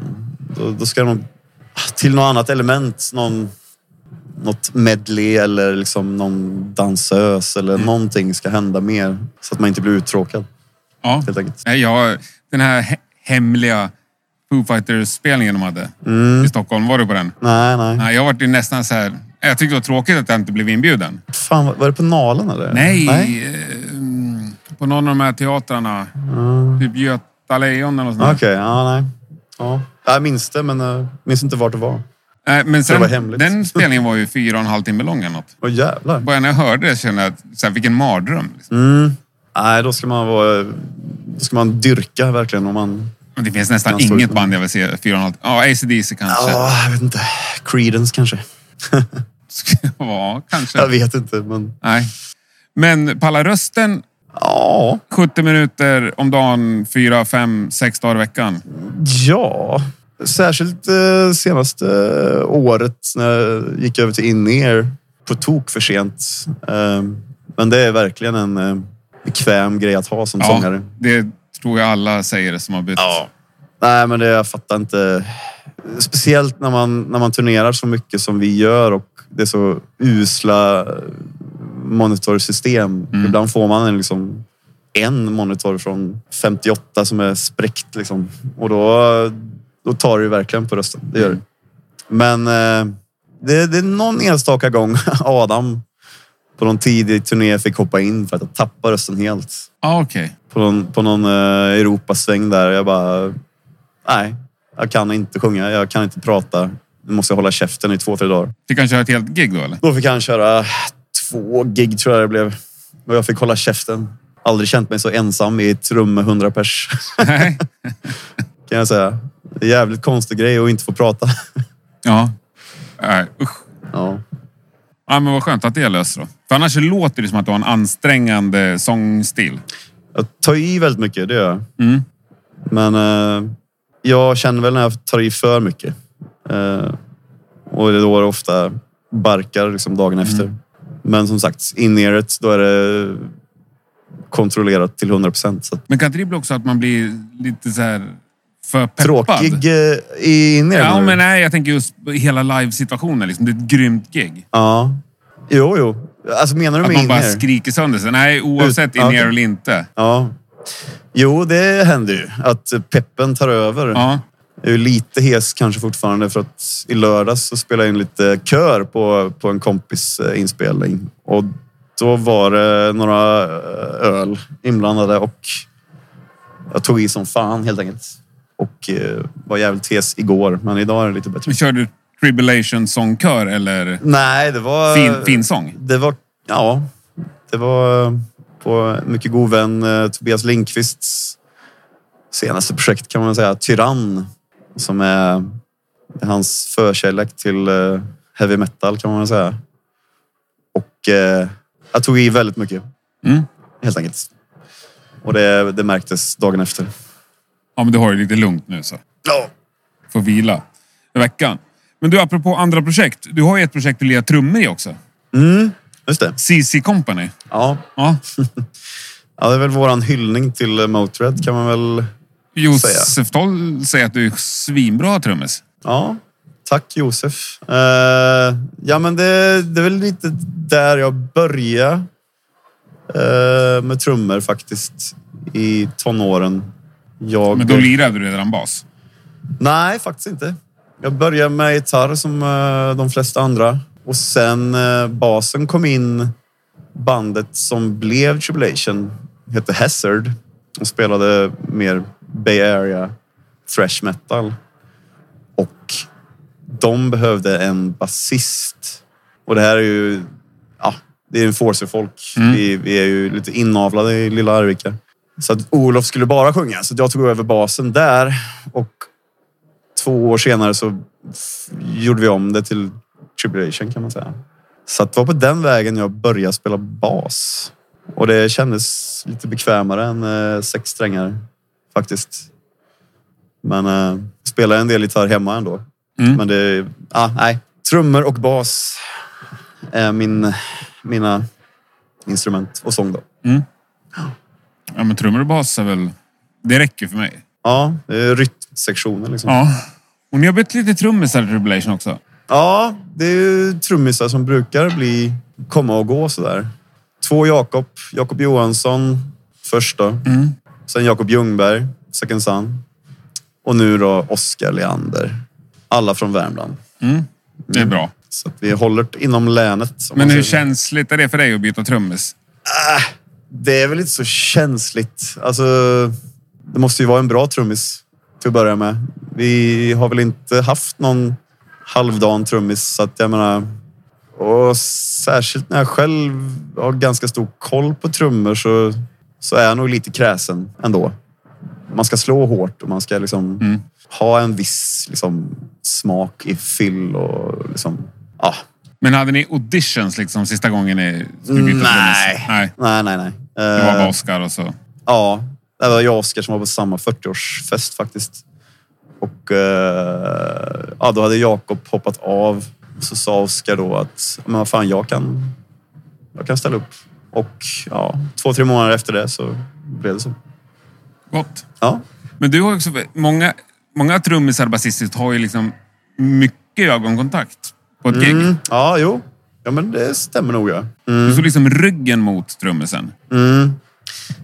Då, då ska de till något annat element, någon, något medley eller liksom någon dansös eller Mm. någonting ska hända mer så att man inte blir uttråkad Ja. helt enkelt. Nej, jag, den här he- hemliga Foo Fighters-spelningen de hade Mm. i Stockholm. Var du på den? Nej, nej. Nej, jag var ju nästan så här... Jag tyckte det var tråkigt att jag inte blev inbjuden. Fan, var- var det på Nalen eller? Nej, eh, mm, på någon av de här teatrarna. Mm. Typ Göta Lejon eller något sånt. där. Okej, ja, nej. Ja. Jag minns det, men jag minns inte vart det var. Nej, men det var sen, hemligt. den spelningen var ju fyra och en halv timme lång eller något. Åh jävlar. Bara när jag hörde det kände jag att, så här, vilken mardröm. Liksom. Mm. Nej, då ska man vara... Då ska man dyrka verkligen om man... Men det finns nästan Jag står inget ut. band jag vill se fyra och en halv Ja, ACDC kanske. Ja, jag vet inte. Creedence kanske. Ja, kanske. Jag vet inte, men... Nej. Men Palla rösten, Ja. 70 minuter om dagen, fyra, fem, sex dagar i veckan. Ja, särskilt eh, senaste eh, året när jag gick över till in-ear på tok för sent. Eh, men det är verkligen en eh, bekväm grej att ha som sångare. det tror jag alla säger som har bytt. Nej, men det jag fattar inte. Speciellt när man, när man turnerar så mycket som vi gör och det är så usla monitorsystem. Ibland får man en, liksom, en monitor från 58 som är spräckt. Liksom. Och då, då tar det ju verkligen på rösten. Det gör det. Men eh, det, det är någon enstaka gång Adam på någon tidig turné fick hoppa in för att jag tappade rösten helt Ja, okej. på någon, på någon eh, Europasväng där. Jag bara, nej, jag kan inte sjunga, jag kan inte prata. Nu måste jag hålla käften i två, tre dagar. Fick han köra ett helt gig då eller? Då fick han köra två gig tror jag det blev. Och jag fick hålla käften. Aldrig känt mig så ensam i ett rum med hundra pers. Nej. Kan jag säga. Det är jävligt konstig grej att inte få prata. Ja. Nej, usch. Ja. Ja, men vad skönt att det är löst då. För annars så låter det som att du har en ansträngande sångstil. Jag tar i väldigt mycket, det gör jag. Mm. Men eh, jag känner väl när jag tar i för mycket. Eh, och det är då det ofta barkar liksom dagen Mm. efter. Men som sagt, in då är det kontrollerat till 100 procent. Men kan inte det bli också att man blir lite så här för peppad? Tråkig eh, i in Ja, men nej, jag tänker just på hela live-situationen. Liksom. Det är ett grymt gig. ja. Jo, jo. Alltså menar du Att med man in bara skriker sönder sig. Nej, oavsett Ut- ja, in ear okej. eller inte. Ja. Jo, det händer ju. Att peppen tar över. Ja. Jag är ju lite hes kanske fortfarande för att i lördags så spelade jag in lite kör på, på en kompis eh, inspelning. Och då var det några eh, öl inblandade och jag tog i som fan helt enkelt. Och eh, var jävligt hes igår, men idag är det lite bättre. Men Kör du Tribulation sångkör eller Uh, Nej, det var... fin, fin sång? Det var... Ja. Det var eh, på en mycket god vän eh, Tobias Lindqvists senaste projekt kan man säga, Tyrann. Som är hans förkärlek till eh, heavy metal kan man säga. Och eh, jag tog i väldigt mycket. Mm. Helt enkelt. Och det, det märktes dagen efter. Ja, men du har ju lite lugnt nu så. Ja. Får vila i veckan. Men du, apropå andra projekt. Du har ju ett projekt du lirar trummor i också. Mm, just det. CC Company. Ja. Ja. ja, det är väl våran hyllning till eh, Motörhead kan man väl Josef Toll säger att du är svinbra trummis. Ja, Tack Josef. Eh, ja, men det, det är väl lite där jag började eh, med trummor faktiskt i tonåren. Jag, Men då lirade du redan bas. Nej, faktiskt inte. Jag började med gitarr som eh, de flesta andra och sen eh, basen kom in. Bandet som blev Tribulation hette Hazard och spelade mer Bay Area thrash metal. Och de behövde en basist. Och det här är ju... Ja, det är en Forcer-folk. Vi, vi är ju lite inavlade i lilla Arvika. Så att Olof skulle bara sjunga, så jag tog över basen där. Och två år senare så f- gjorde vi om det till Tribulation kan man säga. Så att det var på den vägen jag började spela bas. Och det kändes lite bekvämare än eh, sex strängar faktiskt. Men eh, spelar en del gitarr hemma ändå. Mm. Men det, ah, nej. Trummor och bas är min, mina instrument och sång då. Ja, men trummor och bas är väl... Det räcker för mig. Ja, det är rytmsektionen liksom. Ja. Och ni har bytt lite trummisar i Tribulation också. Ja, det är ju trummisar som brukar bli komma och gå sådär. Två Jakob. Jakob Johansson första. Mm. Sen Jakob Ljungberg, second son. Och nu då Oskar Leander. Alla från Värmland. Det är bra. Så att vi håller t- inom länet. om man Men hur säger Mm. så. känsligt är det för dig att byta trummis? Det är väl inte så känsligt. Alltså, det måste ju vara en bra trummis till att börja med. Vi har väl inte haft någon halvdan trummis, så att jag menar... Och särskilt när jag själv har ganska stor koll på trummor så, så är jag nog lite kräsen ändå. Man ska slå hårt och man ska liksom Mm. ha en viss liksom, smak i fyll och liksom... Ja, Men hade ni auditions liksom sista gången ni skulle byta trummis? Mm, nej. Nej. Nej, nej, nej. Det var Eh, bara Oscar och så. Ja, det var jag och Oskar som var på samma 40-årsfest faktiskt. Och eh, ja, då hade Jakob hoppat av. Så sa Oskar då att men vad fan, jag kan, jag kan ställa upp. Och ja, två, tre månader efter det så blev det så. Gott. Ja, Men du har också... Många, många trummisar och basister har ju liksom mycket ögonkontakt på ett gig. mm, ja jo. Ja, men det stämmer nog. Ja. Du står liksom ryggen mot trummisen. Mm.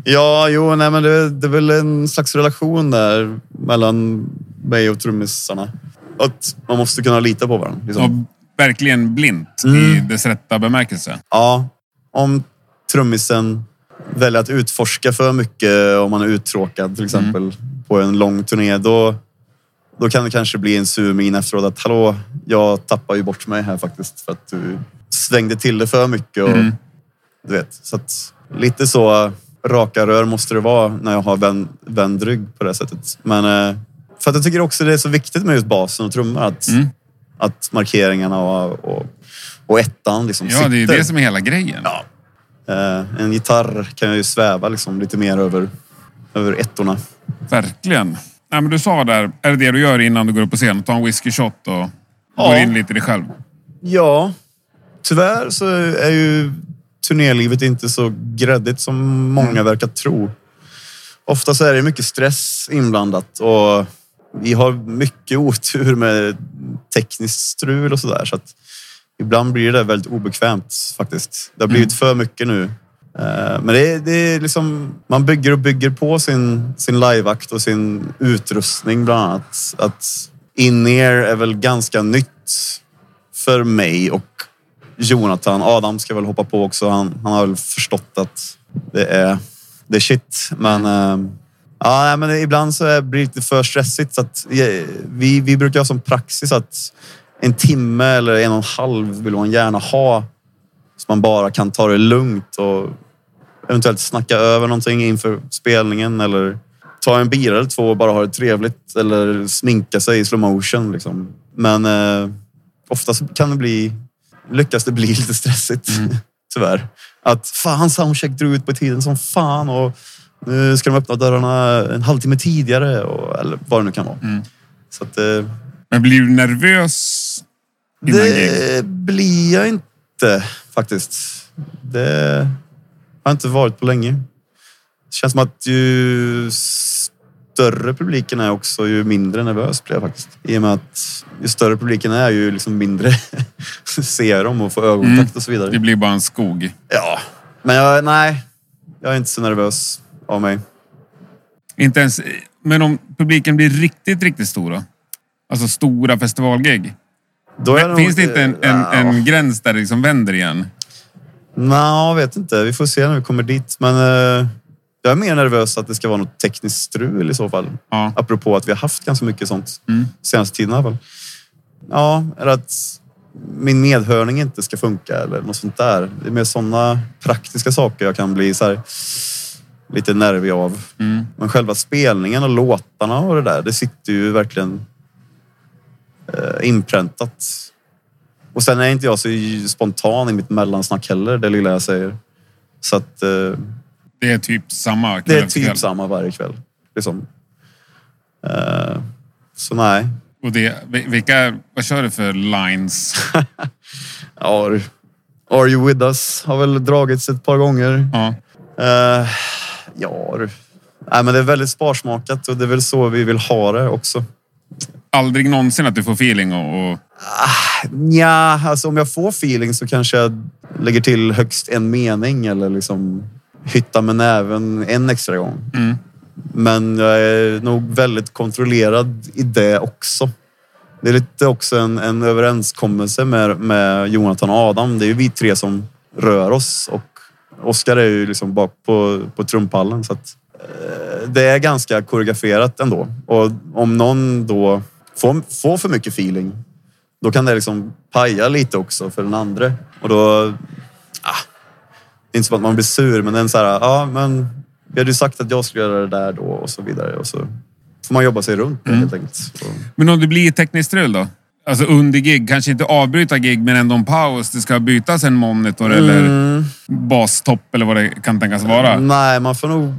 Ja, jo, nej, men det, det är väl en slags relation där mellan mig och trummisarna. Att man måste kunna lita på varandra. Liksom. Och verkligen blint i Mm. dess rätta bemärkelse. Ja, om trummisen väljer att utforska för mycket om man är uttråkad Mm. till exempel på en lång turné, då, då kan det kanske bli en sur min efteråt att hallå, jag tappar ju bort mig här faktiskt för att du svängde till det för mycket. Och, Mm. Du vet, så att lite så raka rör måste det vara när jag har vänd, vänd rygg på det sättet. Men eh, för att jag tycker också det är så viktigt med just basen och trummor, att, Mm. att markeringarna och, och, och ettan liksom Ja, det är ju sitter. det som är hela grejen. Ja. Eh, en gitarr kan jag ju sväva liksom, lite mer över, över ettorna. Verkligen. Nej, men du sa där, är det det du gör innan du går upp på scen? Ta en whisky shot och Ja. går in lite i dig själv? Ja, tyvärr så är ju turnélivet inte så gräddigt som många verkar tro. Ofta så är det mycket stress inblandat och vi har mycket otur med tekniskt strul och sådär. Så att ibland blir det väldigt obekvämt faktiskt. Det har blivit för mycket nu. Eh, Men det är, det är liksom, man bygger och bygger på sin, sin liveakt och sin utrustning bland annat. Att in-ear är väl ganska nytt för mig och Jonathan. Adam ska väl hoppa på också. Han, han har väl förstått att det är, det är shit. Men, eh, ja, nej, men ibland så är- blir det lite för stressigt. Så att, eh, vi, vi brukar ha som praxis att en timme eller en och en halv vill man gärna ha så man bara kan ta det lugnt och eventuellt snacka över någonting inför spelningen eller ta en bira eller två och bara ha det trevligt eller sminka sig i slow motion. Liksom. Men eh, oftast kan det bli, lyckas det bli lite stressigt. Tyvärr. Att fan, soundcheck drog ut på tiden som fan och nu ska de öppna dörrarna en halvtimme tidigare och, eller vad det nu kan vara. Så att, eh, Men blir du nervös innan gig? det blir jag inte faktiskt. Det har jag inte varit på länge. Det känns som att ju större publiken är också, ju mindre nervös blir jag faktiskt. I och med att ju större publiken är, ju liksom mindre ser de och får ögonkontakt och så Det vidare. blir bara en skog. Ja, men jag, nej, jag är inte så nervös av mig. Inte ens... Men om publiken blir riktigt, riktigt stor då? Alltså stora festivalgig. Då är jag nog- Finns det inte en, en, Ja. en gräns där det liksom vänder igen? Nej, jag vet inte. Vi får se när vi kommer dit. Men eh, jag är mer nervös att det ska vara något tekniskt strul i så fall. Ja. Apropå att vi har haft ganska mycket sånt senaste tiden i alla fall. Ja, eller att min medhörning inte ska funka eller något sånt där. Det är mer sådana praktiska saker jag kan bli så här, lite nervig av. Men själva spelningen och låtarna och det där, det sitter ju verkligen eh, inpräntat och sen är inte jag så spontan i mitt mellansnack heller, det lilla jag säger. Så att eh, Det är typ samma det kväll är för kväll. typ samma varje kväll. Liksom. Eh, så nej. Och det, vil- vilka, vad kör du för lines? Are, are you with us har väl dragits ett par gånger. Ja. Eh, ja, du. Nej, men det är väldigt sparsmakat och det är väl så vi vill ha det också. Aldrig någonsin att du får feeling och... och Ja, alltså om jag får feeling så kanske jag lägger till högst en mening eller liksom hytta med näven en extra gång. Mm. Men jag är nog väldigt kontrollerad i det också. Det är lite också en, en överenskommelse med, med Jonathan och Adam. Det är ju vi tre som rör oss och Oskar är ju liksom bak på, på trumpallen. Så att, eh, det är ganska koreograferat ändå. Och om någon då får, får för mycket feeling, då kan det liksom paja lite också för den andra. Och då ah, det är inte som att man blir sur, men den så här, ja men vi hade ju sagt att jag skulle göra det där då och så vidare. Och så får man jobba sig runt det Mm. helt enkelt. Och, Men om det blir tekniskt strul då? Alltså under gig, kanske inte avbryta gig, men ändå en paus. Det ska bytas en monitor Mm. eller bastopp eller vad det kan tänkas vara. Nej, man får nog...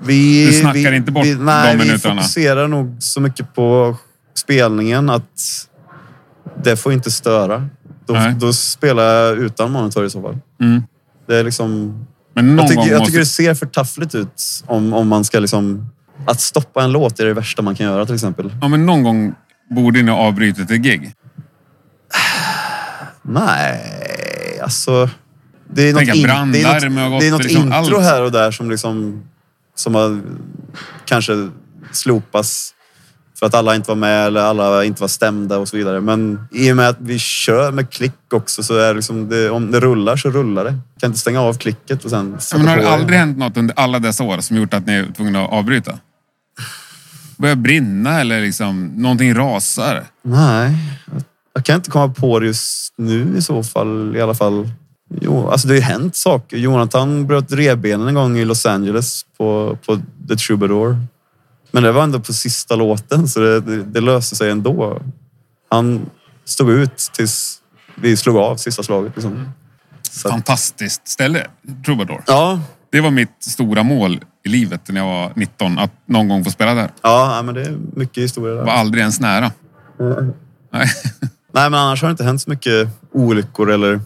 Vi, Du snackar inte bort vi, nej, de vi minuterna. fokuserar nog så mycket på spelningen att det får inte störa. Då, Nej. då spelar jag utan monitor i så fall. Mm. Det är liksom... Men någon Jag tycker, gång jag måste... tycker det ser för taffligt ut om, om man ska liksom... Att stoppa en låt är det värsta man kan göra till exempel. Ja, men någon gång borde ni ha avbrutit ett gig. Nej, alltså... Det är något, Tänker in, det är brandlarm har något, gått, det är något liksom intro allt. här och där som liksom... Som har, kanske slopas för att alla inte var med eller alla inte var stämda och så vidare. Men i och med att vi kör med klick också så är det liksom... Det, om det rullar så rullar det. Kan inte stänga av klicket och sen Ja, sätta men har det på aldrig hänt något under alla dessa år som gjort att ni är tvungna att avbryta? Börjar brinna eller liksom någonting rasar? Nej, jag- jag kan inte komma på det just nu i så fall. I alla fall. Jo, alltså det har ju hänt saker. Jonathan bröt revbenen en gång i Los Angeles på, på The Troubadour. Men det var ändå på sista låten, så det, det, det löste sig ändå. Han stod ut tills vi slog av sista slaget. Liksom. Så att, Fantastiskt ställe, Troubadour. ja, Det var mitt stora mål i livet när jag var 19, att någon gång få spela där. ja, nej, men det är mycket historia där. Var aldrig ens nära. Nej. Nej, men annars har det inte hänt så mycket olyckor eller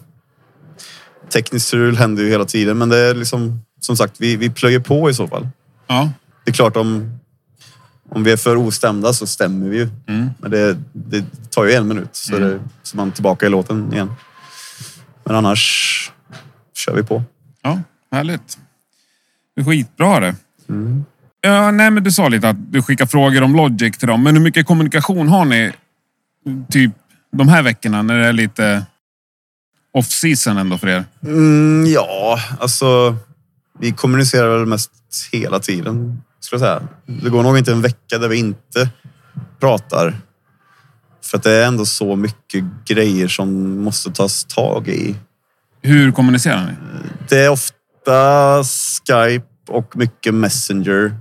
tekniskt strul händer ju hela tiden. Men det är liksom, som sagt, vi, vi plöjer på i så fall. Ja. Det är klart om, om vi är för ostämda så stämmer vi ju. Men det, det tar ju en minut så, är det, så man är tillbaka i låten igen. Men annars kör vi på. ja, härligt. Det är skitbra det. Ja, nej, men du sa lite att du skickar frågor om Logic till dem, men hur mycket kommunikation har ni typ de här veckorna när det är lite off-season ändå för er? Mm, ja, alltså vi kommunicerar väl mest hela tiden. Skulle jag säga. Det går nog inte en vecka där vi inte pratar. För att det är ändå så mycket grejer som måste tas tag i. Hur kommunicerar ni? Det är ofta Skype och mycket Messenger.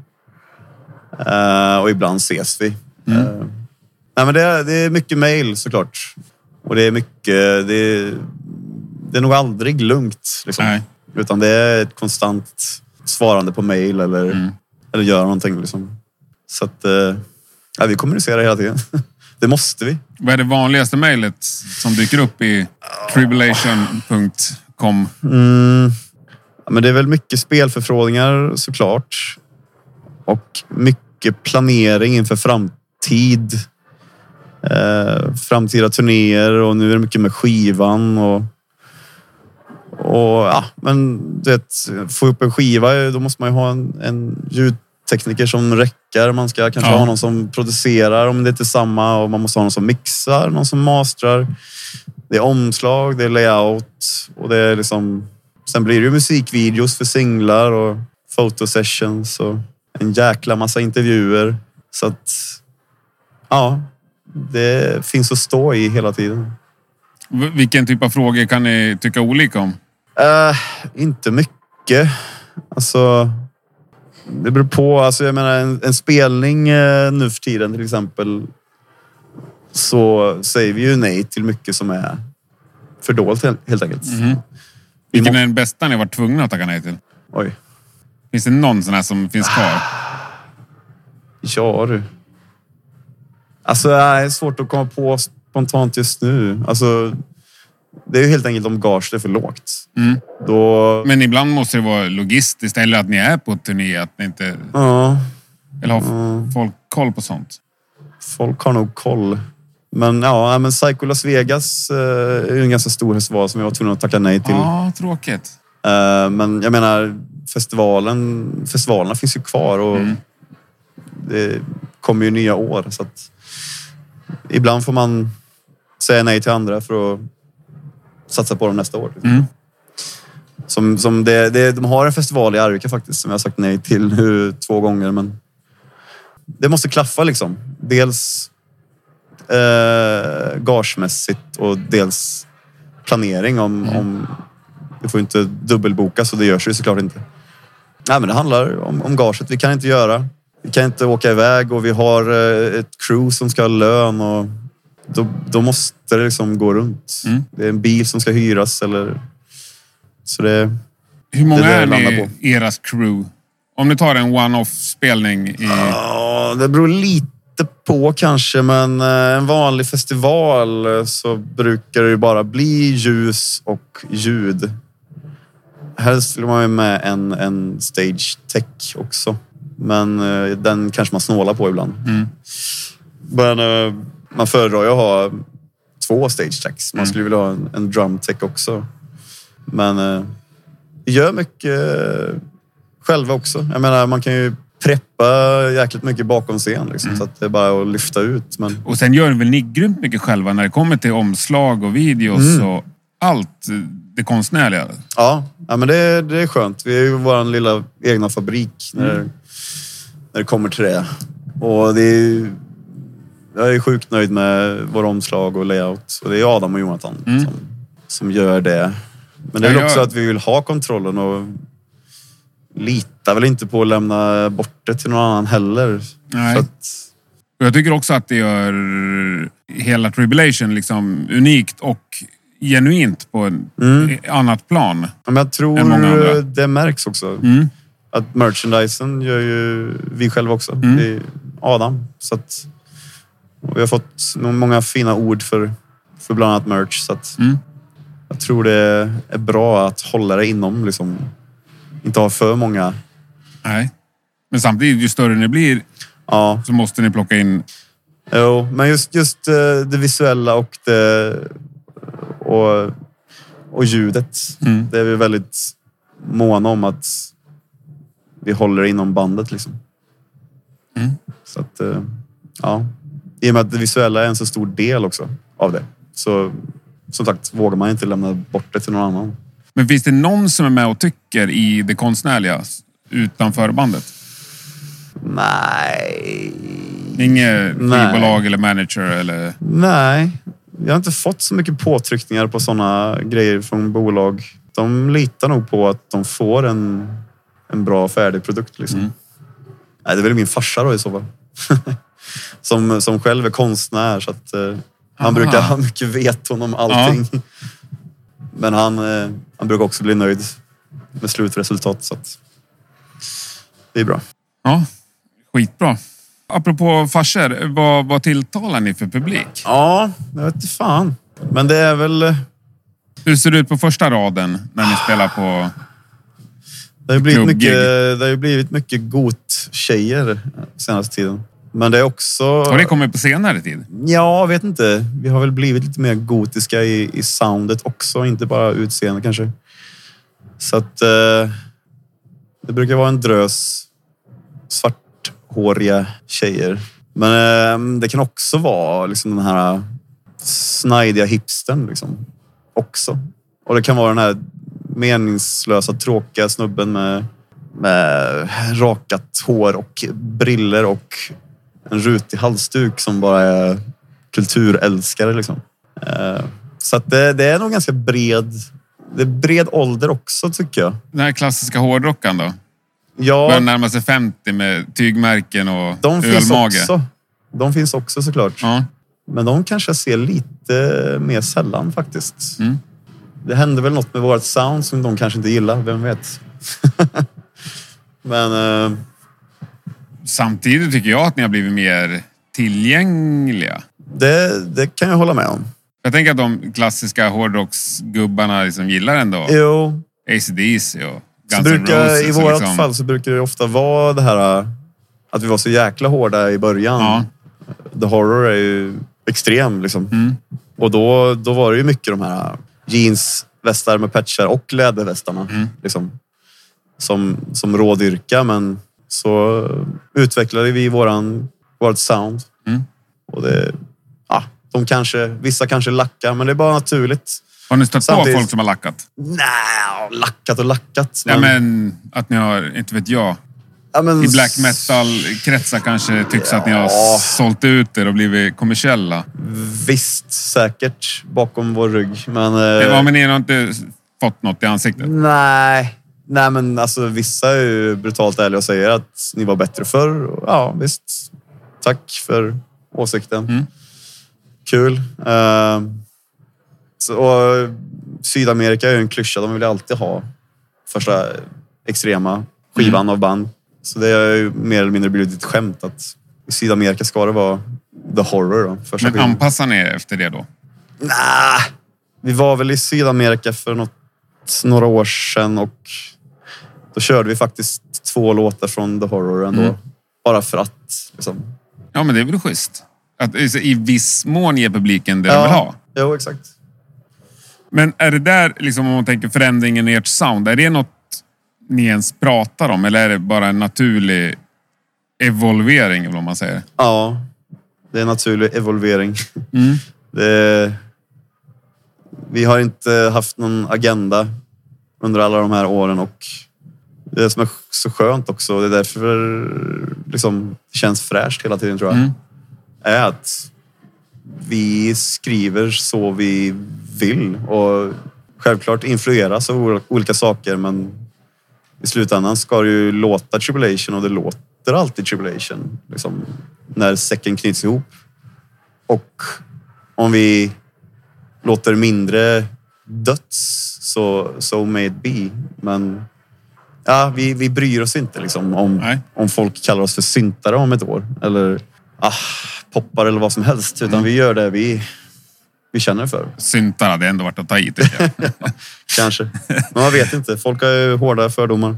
Eh, och ibland ses vi. Eh, nej, men det, är, det är mycket mail såklart. Och det är mycket... Det är, det är nog aldrig lugnt. Liksom. Nej. Utan det är ett konstant svarande på mail eller, eller göra någonting. Liksom. Så att... eh, ja, vi kommunicerar hela tiden. det måste vi. Vad är det vanligaste mejlet som dyker upp i tribulation.com? Mm. Ja, Men det är väl mycket spelförfrågningar såklart. Och mycket mycket planering inför framtid. Eh, framtida turnéer och nu är det mycket med skivan och... Och ja, men du vet, få upp en skiva, då måste man ju ha en, en ljudtekniker som räcker. Man ska kanske Ja. ha någon som producerar om det inte är samma och man måste ha någon som mixar, någon som mastrar. Det är omslag, det är layout och det är liksom... Sen blir det ju musikvideos för singlar och fotosessions och en jäkla massa intervjuer. Så att... Ja, det finns att stå i hela tiden. V- Vilken typ av frågor kan ni tycka olika om? Eh, inte mycket. Alltså, det beror på. Alltså, jag menar, en, en spelning eh, nu för tiden till exempel så säger vi ju nej till mycket som är för dåligt helt- helt enkelt. Vi Vilken må- är den bästa ni varit tvungna att tacka nej till? Oj. Finns det någon sån här som finns kvar? Ja du. Alltså det här är svårt att komma på spontant just nu. Alltså, det är ju helt enkelt om gaget är för lågt. Då... Men ibland måste det vara logistiskt eller att ni är på turné. Att ni inte, Ja. eller har f- Mm. folk koll på sånt? Folk har nog koll. Men ja, ja, men Psycho Las Vegas eh, är ju en ganska stor festival som jag var tvungen att tacka nej till. Ja, tråkigt. Eh, men jag menar, festivalen, festivalerna finns ju kvar och det kommer ju nya år. Så att ibland får man säga nej till andra för att satsa på dem nästa år. liksom. Mm. Som, som det, det, de har en festival i Arvika faktiskt som jag har sagt nej till nu två gånger. Men det måste klaffa liksom. Dels eh, gagemässigt och dels planering. Om, om, det får ju inte dubbelbokas och det görs ju såklart inte. Nej, men det handlar om, om gaget. Vi kan inte göra. Vi kan inte åka iväg och vi har eh, ett crew som ska ha lön. Och då, då måste det liksom gå runt. Mm. Det är en bil som ska hyras eller... Så det... Hur många Det är det är jag ni landar på. i eras crew? Om ni tar en one-off-spelning i... Ja, det beror lite på kanske, men eh, en vanlig festival eh, så brukar det ju bara bli ljus och ljud. Helst vill man ju med en, en stage tech också, men eh, den kanske man snålar på ibland. Mm. Men eh, man föredrar ju att ha två stage techs. Man skulle vilja ha en, en drum tech också. Men eh, vi gör mycket eh, själva också. Jag menar, man kan ju preppa jäkligt mycket bakom scen. Liksom, Mm. Så att det är bara att lyfta ut. Men Och sen gör väl ni grymt mycket själva när det kommer till omslag och videos Mm. och allt det konstnärliga. ja, ja men det, det är skönt. Vi är ju vår lilla egna fabrik när, Mm. när det kommer till det. Och det är, ju- jag är sjukt nöjd med våra omslag och layout. Och det är Adam och Jonathan som, som gör det. Men det är Mm. Ja, väl jag- också att vi vill ha kontrollen och litar väl inte på att lämna bort det till någon annan heller. Nej. Så att, Och jag tycker också att det gör hela Tribulation liksom unikt och genuint på ett Mm. annat plan. Ja, men jag än många andra. Mm. tror det märks också. Att merchandisen gör ju vi själva också. Mm. Det är Adam. Så att, och vi har fått många fina ord för, för bland annat merch. Så att Mm. Jag tror det är bra att hålla det inom. Liksom. Inte ha för många. Nej. Men samtidigt, ju större ni blir Ja, så måste ni plocka in... jo, men just, just eh, det visuella och, det, och, och ljudet. Mm. Det är vi väldigt måna om att vi håller det inom bandet. Liksom. Mm. Så att, eh, ja. I och med att det visuella är en så stor del också av det. Så som sagt vågar man inte lämna bort det till någon annan. Men finns det någon som är med och tycker i det konstnärliga utanför bandet? Nej. Nej. Inget skivbolag eller manager eller... Nej. Jag har inte fått så mycket påtryckningar på sådana grejer från bolag. De litar nog på att de får en, en bra färdig produkt. Liksom. Nej, det är väl min farsa då i så fall. som, som själv är konstnär så att eh, han Aha. brukar ha mycket veton om allting. Men han, eh, han brukar också bli nöjd med slutresultat så att det är bra. Ja, skitbra. Apropå farsor, vad, vad tilltalar ni för publik? Ja, jag vet inte fan. Men det är väl... eh, Hur ser det ut på första raden när ni spelar på... Det har ju blivit Klubbgig. mycket, det har ju blivit mycket got Rockbands-tjejer senaste tiden. Men det är också... Har det kommit på senare tid? Ja, jag vet inte. Vi har väl blivit lite mer gotiska i, i soundet också, inte bara utseende kanske. Så att eh, det brukar vara en drös svarthåriga tjejer. Men eh, det kan också vara liksom den här snajdiga hipstern liksom. Också. Och det kan vara den här meningslösa, tråkiga snubben med, med rakat hår och briller och en rutig halsduk som bara är kulturälskare. Liksom. Eh, Så att det, det är nog ganska bred... Det är bred ålder också, tycker jag. Den här klassiska hårdrockaren då? Börjar Ja, närma sig 50 med tygmärken och de finns ölmage. också. De finns också såklart. Ja. Men de kanske jag ser lite mer sällan faktiskt. Mm. Det hände väl något med vårt sound som de kanske inte gillar, vem vet? Men eh, Samtidigt tycker jag att ni har blivit mer tillgängliga. det, det kan jag hålla med om. Jag tänker att de klassiska hårdrocksgubbarna liksom gillar ändå Jo, AC/DC och så Guns N' brukar, Roses. I och vårt liksom- fall så brukar det ofta vara det här eh, att vi var så jäkla hårda i början. Ja. The Horror är ju extrem liksom. Mm. Och då, då var det ju mycket de här äh, jeansvästar med patchar och lädervästarna. Mm. Liksom, som, som rådyrka, men så utvecklade vi våran, vårt sound. Mm. Och det, ja, de kanske, vissa kanske lackar, men det är bara naturligt. Har ni stött Samtidigt- på folk som har lackat? Nej, lackat och lackat. Ja, men att ni har, inte vet jag, ja, men i black metal-kretsar kanske tycks att ni har Ja. sålt ut er och blivit kommersiella. Visst, säkert bakom vår rygg. Men, eh, Ja, men ni har inte fått något i ansiktet? Nej. Nej, men alltså vissa är ju brutalt ärliga och säger att ni var bättre förr. Och Ja, visst. Tack för åsikten. Mm. Kul. Eh, så, och Sydamerika är ju en klyscha. De vill ju alltid ha första extrema Mm. skivan av band. Så det har ju mer eller mindre blivit ett skämt att i Sydamerika ska det vara the horror. Då, första Men skivan. anpassar ni er efter det då? Nah, vi var väl i Sydamerika för något, några år sedan och då körde vi faktiskt två låtar från The Horror ändå. Mm. Bara för att. Liksom. Ja, men det är väl schysst? Att alltså, i viss mån ge publiken det de vill ha. Jo, exakt. Men är det där, liksom, om man tänker förändringen i ert sound, är det något ni ens pratar om eller är det bara en naturlig evolvering? eller vad man säger? Ja, det är en naturlig evolvering. Mm. Det, vi har inte haft någon agenda under alla de här åren och det som är så skönt också, det är därför liksom, det känns fräscht hela tiden tror jag, Mm. är att vi skriver så vi vill och självklart influeras av ol- olika saker men i slutändan ska det ju låta tribulation och det låter alltid tribulation. Liksom, när säcken knyts ihop. Och om vi låter mindre döds så so may it be. Men ja, vi, vi bryr oss inte liksom, om, Nej. om folk kallar oss för syntare om ett år. Eller ah, poppar eller vad som helst. Utan vi gör det vi, vi känner för. Syntar hade ändå varit att ta i, tycker jag. Kanske. Men man vet inte. Folk har ju hårda fördomar.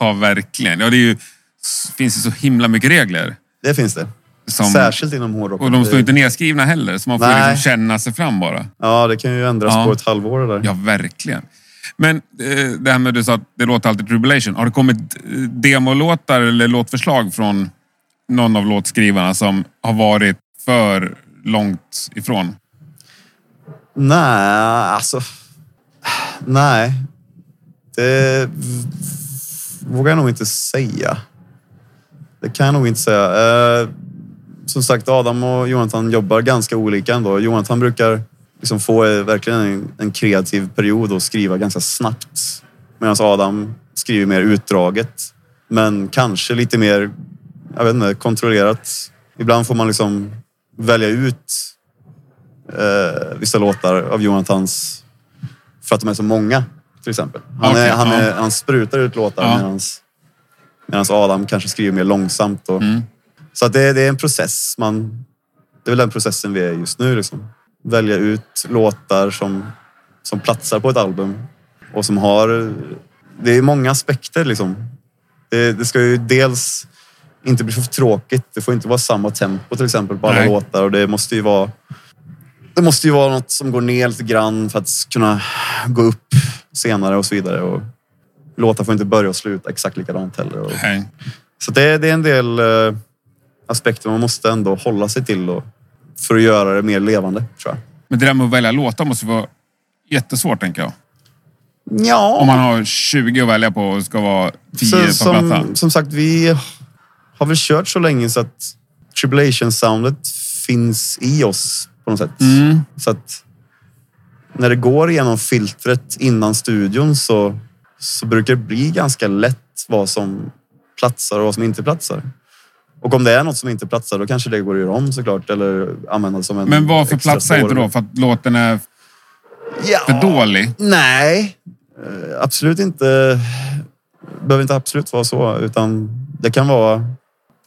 ja, verkligen. Ja, det är ju, finns ju så himla mycket regler. Det finns det. Som, Särskilt inom hårdrock. och de står ju inte nedskrivna heller, så man får ju Nej. liksom känna sig fram bara. Ja, det kan ju ändras Ja. på ett halvår det där. Ja, verkligen. Men eh, det här med du sa att det låter alltid Tribulation. Har det kommit eh, demolåtar eller låtförslag från någon av låtskrivarna som har varit för långt ifrån? Nej, alltså... Nej. Det v- vågar jag nog inte säga. Det kan jag nog inte säga. Eh, som sagt, Adam och Jonathan jobbar ganska olika ändå. Jonathan brukar liksom få eh, verkligen en, en kreativ period och skriva ganska snabbt. Medan Adam skriver mer utdraget. Men kanske lite mer, jag vet inte, kontrollerat. Ibland får man liksom välja ut eh, vissa låtar av Jonathans för att de är så många, till exempel. Han, Okej, är, han, ja. är, Eh, han sprutar ut låtar Ja. medans, medans Adam kanske skriver mer långsamt. Och, Mm. Så att det, det är en process. Man, det är väl den processen vi är i just nu. Liksom. Välja ut låtar som, som platsar på ett album och som har... Det är många aspekter. Liksom. Det, det ska ju dels inte bli för tråkigt. Det får inte vara samma tempo till exempel på alla Nej. låtar och det måste ju vara... Det måste ju vara något som går ner lite grann för att kunna gå upp senare och så vidare. Och låtar får inte börja och sluta exakt likadant heller. Och, Nej. så det, det är en del eh, aspekter man måste ändå hålla sig till och, för att göra det mer levande, tror jag. Men det där med att välja låtar måste vara jättesvårt, tänker jag. Ja. Om man har 20 att välja på och ska vara 10 Så, på platta. som, som sagt, vi har väl kört så länge så att tribulation-soundet finns i oss på något sätt. Mm. Så att när det går igenom filtret innan studion så, så brukar det bli ganska lätt vad som platsar och vad som inte platsar. Och om det är något som inte platsar, då kanske det går att göra om såklart. Eller använda som en Men varför extra platsar spår. inte då? För att låten är Ja. för dålig? Nej, eh, absolut inte. Det behöver inte absolut vara så, utan det kan vara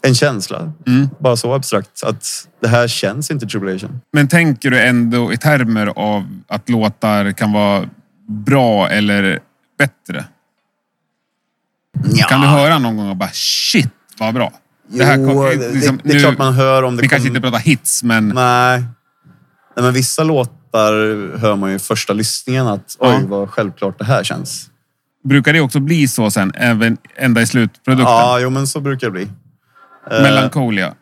en känsla. Mm. Bara så abstrakt att det här känns inte tribulation. Men tänker du ändå i termer av att låtar kan vara bra eller bättre? Ja. Kan du höra någon gång och bara shit vad bra? Jo, här det, kom- liksom, det, det är nu- klart man hör om det Ni kanske inte pratar hits, men Nej. Nej, men vissa låtar hör man ju i första lyssningen att Ja. oj, vad självklart det här känns. brukar det också bli så sen? Även ända i slutprodukten? Ja, jo, men så brukar det bli. Eh, Melancholia,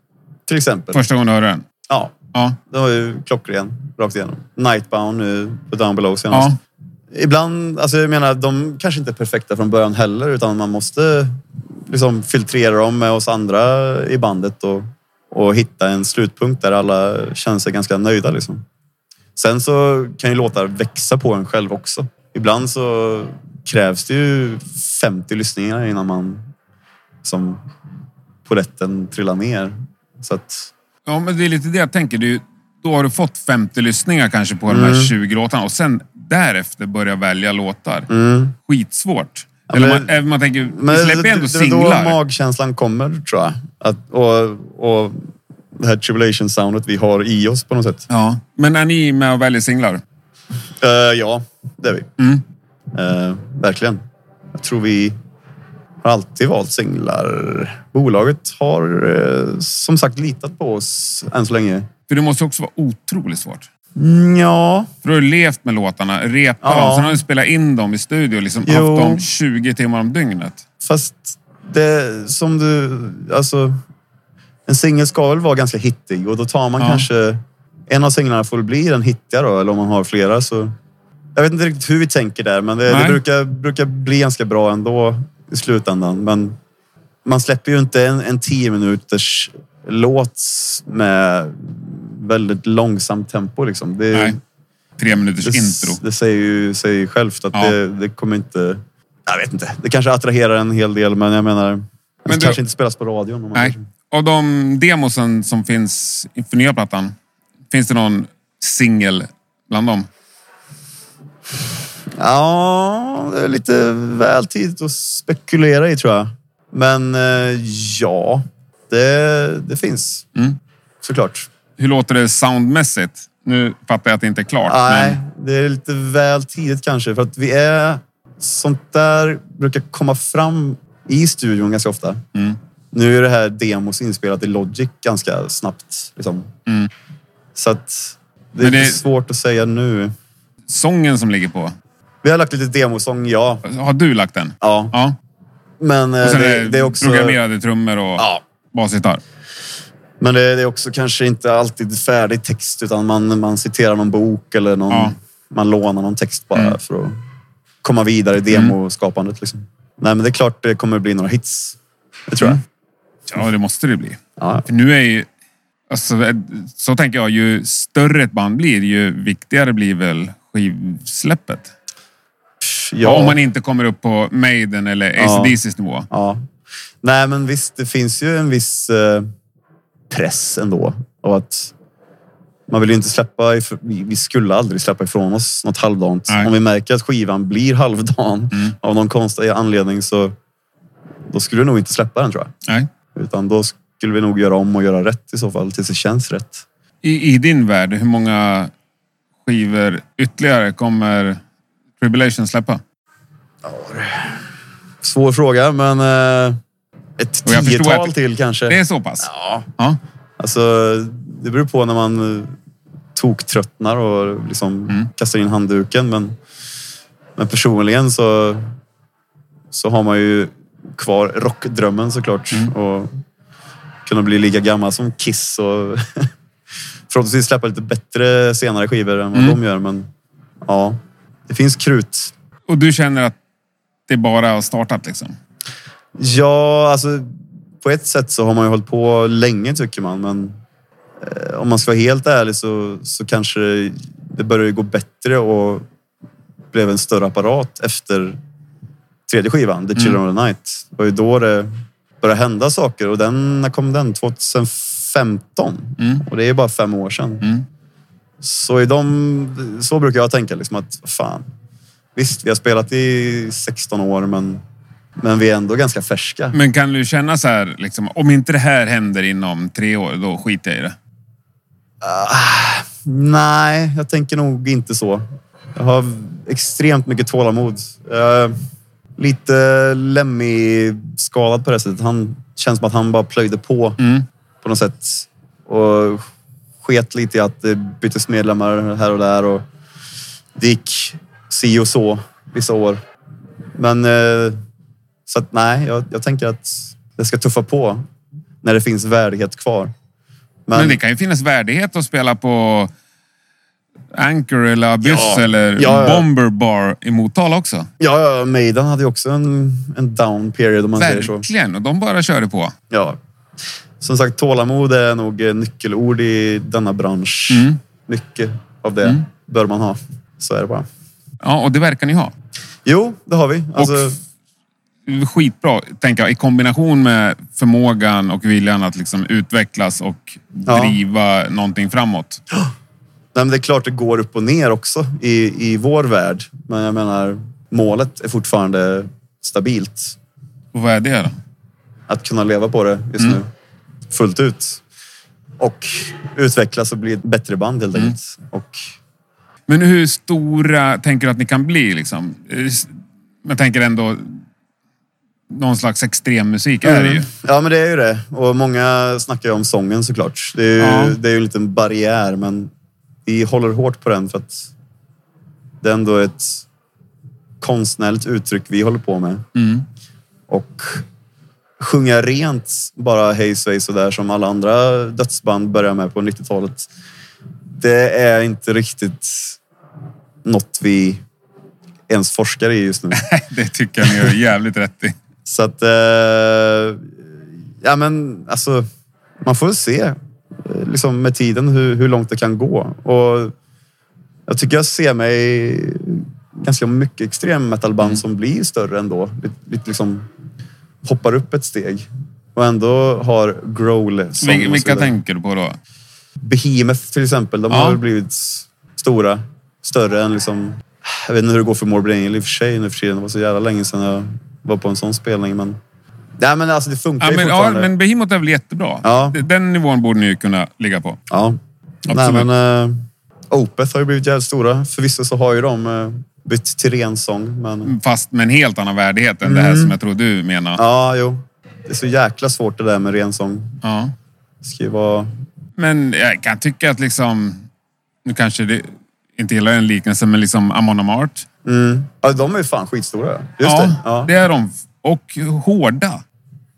till exempel. första gången du hör den. Ja, Ja. det var ju klockren rakt igenom. Nightbound nu på Down Below senast. ja. Ibland, alltså jag menar, de kanske inte är perfekta från början heller utan man måste liksom filtrera dem med oss andra i bandet och, och hitta en slutpunkt där alla känner sig ganska nöjda. Liksom. Sen så kan ju låtar växa på en själv också. Ibland så krävs det ju 50 lyssningar innan man som poletten trillar ner. Så att, ja, men det är lite det jag tänker. Du, då har du fått 50 lyssningar kanske på de Mm. här 20 låtarna och sen därefter börja välja låtar. mm. Skitsvårt. Ja, Eller men- man, även man tänker, Men vi släpper ändå det, det är då singlar. magkänslan kommer tror jag. Att, och, och det här tribulation soundet vi har i oss på något sätt. Ja. Men är ni med och väljer singlar? Eh, ja, det är vi. Mm. Eh, verkligen. Jag tror vi har alltid valt singlar. Bolaget har eh, som sagt litat på oss än så länge. För det måste också vara otroligt svårt. Mm, Ja, För du har ju levt med låtarna, repat Ja. dem, sen har du spelat in dem i studio och liksom Jo. haft dem 20 timmar om dygnet. fast det som du... Alltså, en singel ska väl vara ganska hittig och då tar man Ja. kanske... En av singlarna får väl bli den hittiga då, eller om man har flera så... Jag vet inte riktigt hur vi tänker där, men det, det Nej. brukar, brukar bli ganska bra ändå i slutändan. Men man släpper ju inte en, en tio minuters låt med väldigt långsamt tempo. Liksom. Det, Nej. Tre minuters det, intro. Det säger ju säger ju självt att Ja. det, det kommer inte... Jag vet inte. Det kanske attraherar en hel del, men jag menar... det Men du- kanske inte spelas på radion. Om man Nej. kanske- Av de demosen som finns inför nya plattan, finns det någon singel bland dem? Ja, det är lite väl tidigt att spekulera i tror jag. Men eh, ja, det, det finns. Mm. Såklart. Hur låter det soundmässigt? Nu fattar jag att det inte är klart. Nej, Men det är lite väl tidigt kanske. För att vi är... Sånt där brukar komma fram i studion ganska ofta. Mm. Nu är det här demos inspelat i Logic ganska snabbt. Liksom. Mm. Så att det är Men det- lite svårt att säga nu. sången som ligger på, Vi har lagt lite demosång, ja. har du lagt den? ja. Ja. Men eh, Och sen det, det är också... programmerade trummor och Ja. basgitarr. Men det, det är också kanske inte alltid färdig text utan man, man citerar någon bok eller någon, Ja. man lånar någon text bara för att komma vidare i demoskapandet. Liksom. Nej, men det är klart det kommer bli några hits. Det tror jag. Ja, det måste det bli. Ja. För nu är ju... Alltså, så tänker jag, ju större ett band blir, ju viktigare blir väl skivsläppet. Pff, ja. Om man inte kommer upp på Maiden eller Ja. ACDCs nivå. ja. Nej, men visst, det finns ju en viss eh, press ändå. Och att man vill ju inte släppa... if- vi- Vi skulle aldrig släppa ifrån oss något halvdant. Nej. Mm. Om vi märker att skivan blir halvdan av någon konstig anledning så då skulle du nog inte släppa den tror jag. Nej. Utan då skulle vi nog göra om och göra rätt i så fall tills det känns rätt. I, I din värld, hur många skivor ytterligare kommer Tribulation släppa? Svår fråga, men eh, Ett Och jag förstår tiotal att- till kanske. Det är så pass? Ja, Ja. alltså det beror på när man eh, toktröttnar och liksom kastar in handduken. Men, men personligen så, så har man ju kvar rockdrömmen såklart. Och kunna bli lika gammal som Kiss och förhoppningsvis släppa lite bättre senare skivor än vad de gör. Men ja, det finns krut. Och du känner att det bara har startat liksom? Ja, alltså på ett sätt så har man ju hållit på länge tycker man, men eh, om man ska vara helt ärlig så, så kanske det började ju gå bättre och blev en större apparat efter tredje skivan, The Children of the Night. Det var ju då det började hända saker och den, när kom den? 2015. Och det är ju bara fem år sedan. Så, i de, så brukar jag tänka liksom att fan, visst vi har spelat i 16 år men, men vi är ändå ganska färska. Men kan du känna så här, liksom, om inte det här händer inom tre år, då skiter jag i det? Nej, jag tänker nog inte så. Jag har extremt mycket tålamod. Eh, lite Lemmy-skadad på det sättet. Han känns som att han bara plöjde på på något sätt. Och sket lite i att det byttes medlemmar här och där. Och det gick si och så vissa år. Men eh, så att, nej, jag, jag tänker att jag ska tuffa på när det finns värdighet kvar. Men, det kan ju finnas värdighet att spela på Anchor eller Abyss Ja. eller Ja, ja. Bomber Bar i Motala också. Ja, ja, Maiden hade ju också en, en down period om man säger så. Verkligen, och de bara körde på. Ja. Som sagt, tålamod är nog eh, nyckelord i denna bransch. Mycket av det bör man ha. Så är det bara. Ja, och det verkar ni ha. Jo, det har vi. Alltså, Skitbra, tänker jag, i kombination med förmågan och viljan att liksom utvecklas och Ja. driva någonting framåt. nej, men det är klart det går upp och ner också i, i vår värld. Men jag menar, målet är fortfarande stabilt. Och vad är det då? Att kunna leva på det just nu. Fullt ut. Och utvecklas och bli ett bättre band helt enkelt. Och Men hur stora tänker du att ni kan bli? Liksom? Eh, s- Jag tänker ändå... Någon slags extremmusik är det ju. Mm. Ja, men det är ju det. Och många snackar ju om sången såklart. Det är ju, Ja. det är ju en liten barriär, men vi håller hårt på den för att det är ändå ett konstnärligt uttryck vi håller på med. Mm. Och sjunga rent bara hej svej sådär som alla andra dödsband börjar med på 90-talet. Det är inte riktigt något vi ens forskar i just nu. Det tycker jag ni gör jävligt rätt i. Så att... Eh, ja, men alltså... Man får väl se eh, liksom, med tiden hur, hur långt det kan gå. Och jag tycker jag ser mig ganska mycket extrem metalband Mm. som blir större ändå. Lite, lite liksom hoppar upp ett steg och ändå har growl som Vil- Vilka tänker du på då? Behemoth till exempel, de Ja. har väl blivit stora. Större än liksom... Jag vet inte hur det går för Morbid Angel i och för sig nu för tiden. Det var så jävla länge sedan jag var på en sån spelning. Men... Nej men alltså det funkar Ja, ju men, ja, fortfarande. men Behemoth är väl jättebra? Ja. D- Den nivån borde ni ju kunna ligga på. Ja. Nej, Absolut. men eh, Opeth har ju blivit jävligt stora. Förvisso så har ju de eh, bytt till ren sång. Men... Fast med en helt annan värdighet än det här som jag tror du menar. Mm. Ja, jo. Det är så jäkla svårt det där med ren sång. Ja. Det ska ju vara... Men jag kan tycka att liksom... Nu kanske det inte gillar den liknelsen, men liksom Amon Amart. Mm. Ja, de är ju fan skitstora. Just det. Ja. det är de. Och hårda.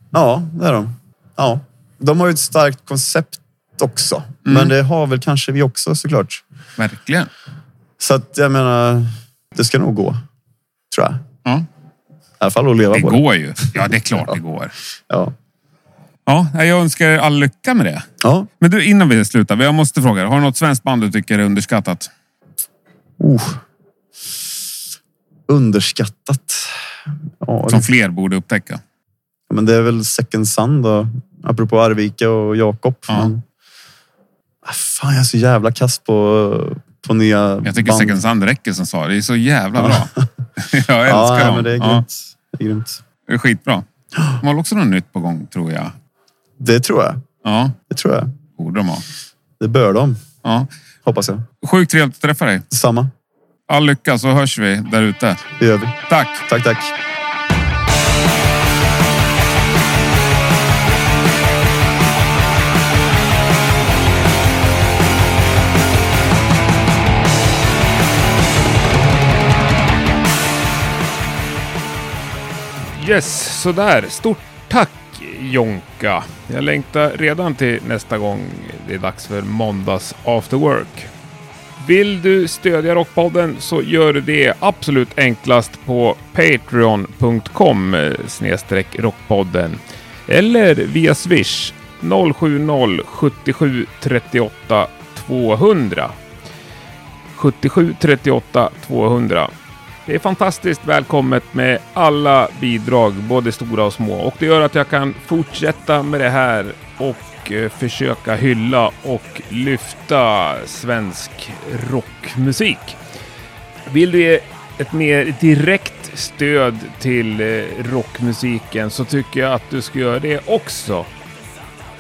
Ja, det är de. Ja. De har ju ett starkt koncept också. Mm. Men det har väl kanske vi också såklart. Verkligen. Så att jag menar, det ska nog gå. Tror jag. I Ja. alla fall att leva Det på det. går ju. Ja, det är klart det går. Ja. Ja, jag önskar er all lycka med det. ja. Men du, innan vi slutar. Jag måste fråga. dig, Har du något svenskt band du tycker är underskattat? Oh. Underskattat. Ja, Som fler borde upptäcka? men det är väl Second Sun då. Apropå Arvika och Jakob. Ja. Men... Ah, Fan, jag är så jävla kass på, på nya Jag tycker band. Second Sand räcker som svar. Det är så jävla Ja. bra. Jag Ja, älskar ja, dem. men det är grymt. Det är grymt. det är skitbra. De har också något nytt på gång, tror jag. Det tror jag. Ja, Det tror jag. borde de ha. Det bör de, Ja. hoppas jag. Sjukt trevligt att träffa dig. Detsamma. All lycka så hörs vi där ute. Det gör vi. Tack! Tack, tack. Yes, sådär. Stort tack Jonka. Jag längtar redan till nästa gång det är dags för måndags after work. Vill du stödja Rockpodden så gör du det absolut enklast på patreon.com eh, snedstreck rockpodden eller via swish 070 77 38 200. 77 38 200. Det är fantastiskt välkommet med alla bidrag, både stora och små. Och det gör att jag kan fortsätta med det här och eh, försöka hylla och lyfta svensk rockmusik. Vill du ge ett mer direkt stöd till eh, rockmusiken så tycker jag att du ska göra det också.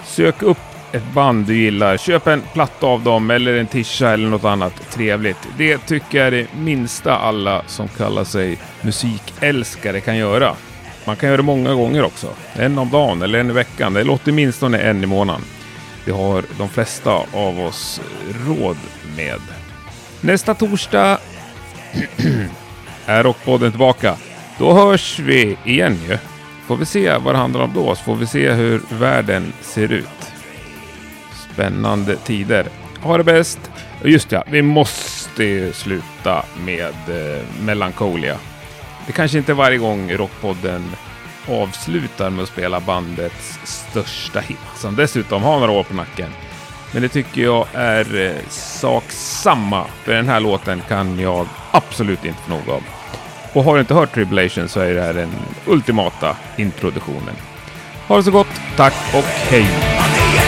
Sök upp ett band du gillar. Köp en platta av dem eller en tisha eller något annat trevligt. Det tycker jag är det minsta alla som kallar sig musikälskare kan göra. Man kan göra det många gånger också. En om dagen eller en i veckan eller åtminstone en i månaden. Det har de flesta av oss råd med. Nästa torsdag är Rockpodden tillbaka. Då hörs vi igen ju. Får vi se vad det handlar om då, så får vi se hur världen ser ut. Spännande tider. Ha det bäst! Och Just ja, vi måste ju sluta med eh, Melancholia. Det kanske inte är varje gång Rockpodden avslutar med att spela bandets största hit, som dessutom har några år på nacken. Men det tycker jag är eh, sak samma, för den här låten kan jag absolut inte få nog av. Och har du inte hört Tribulation så är det här den ultimata introduktionen. Ha det så gott, tack och hej! On the oh,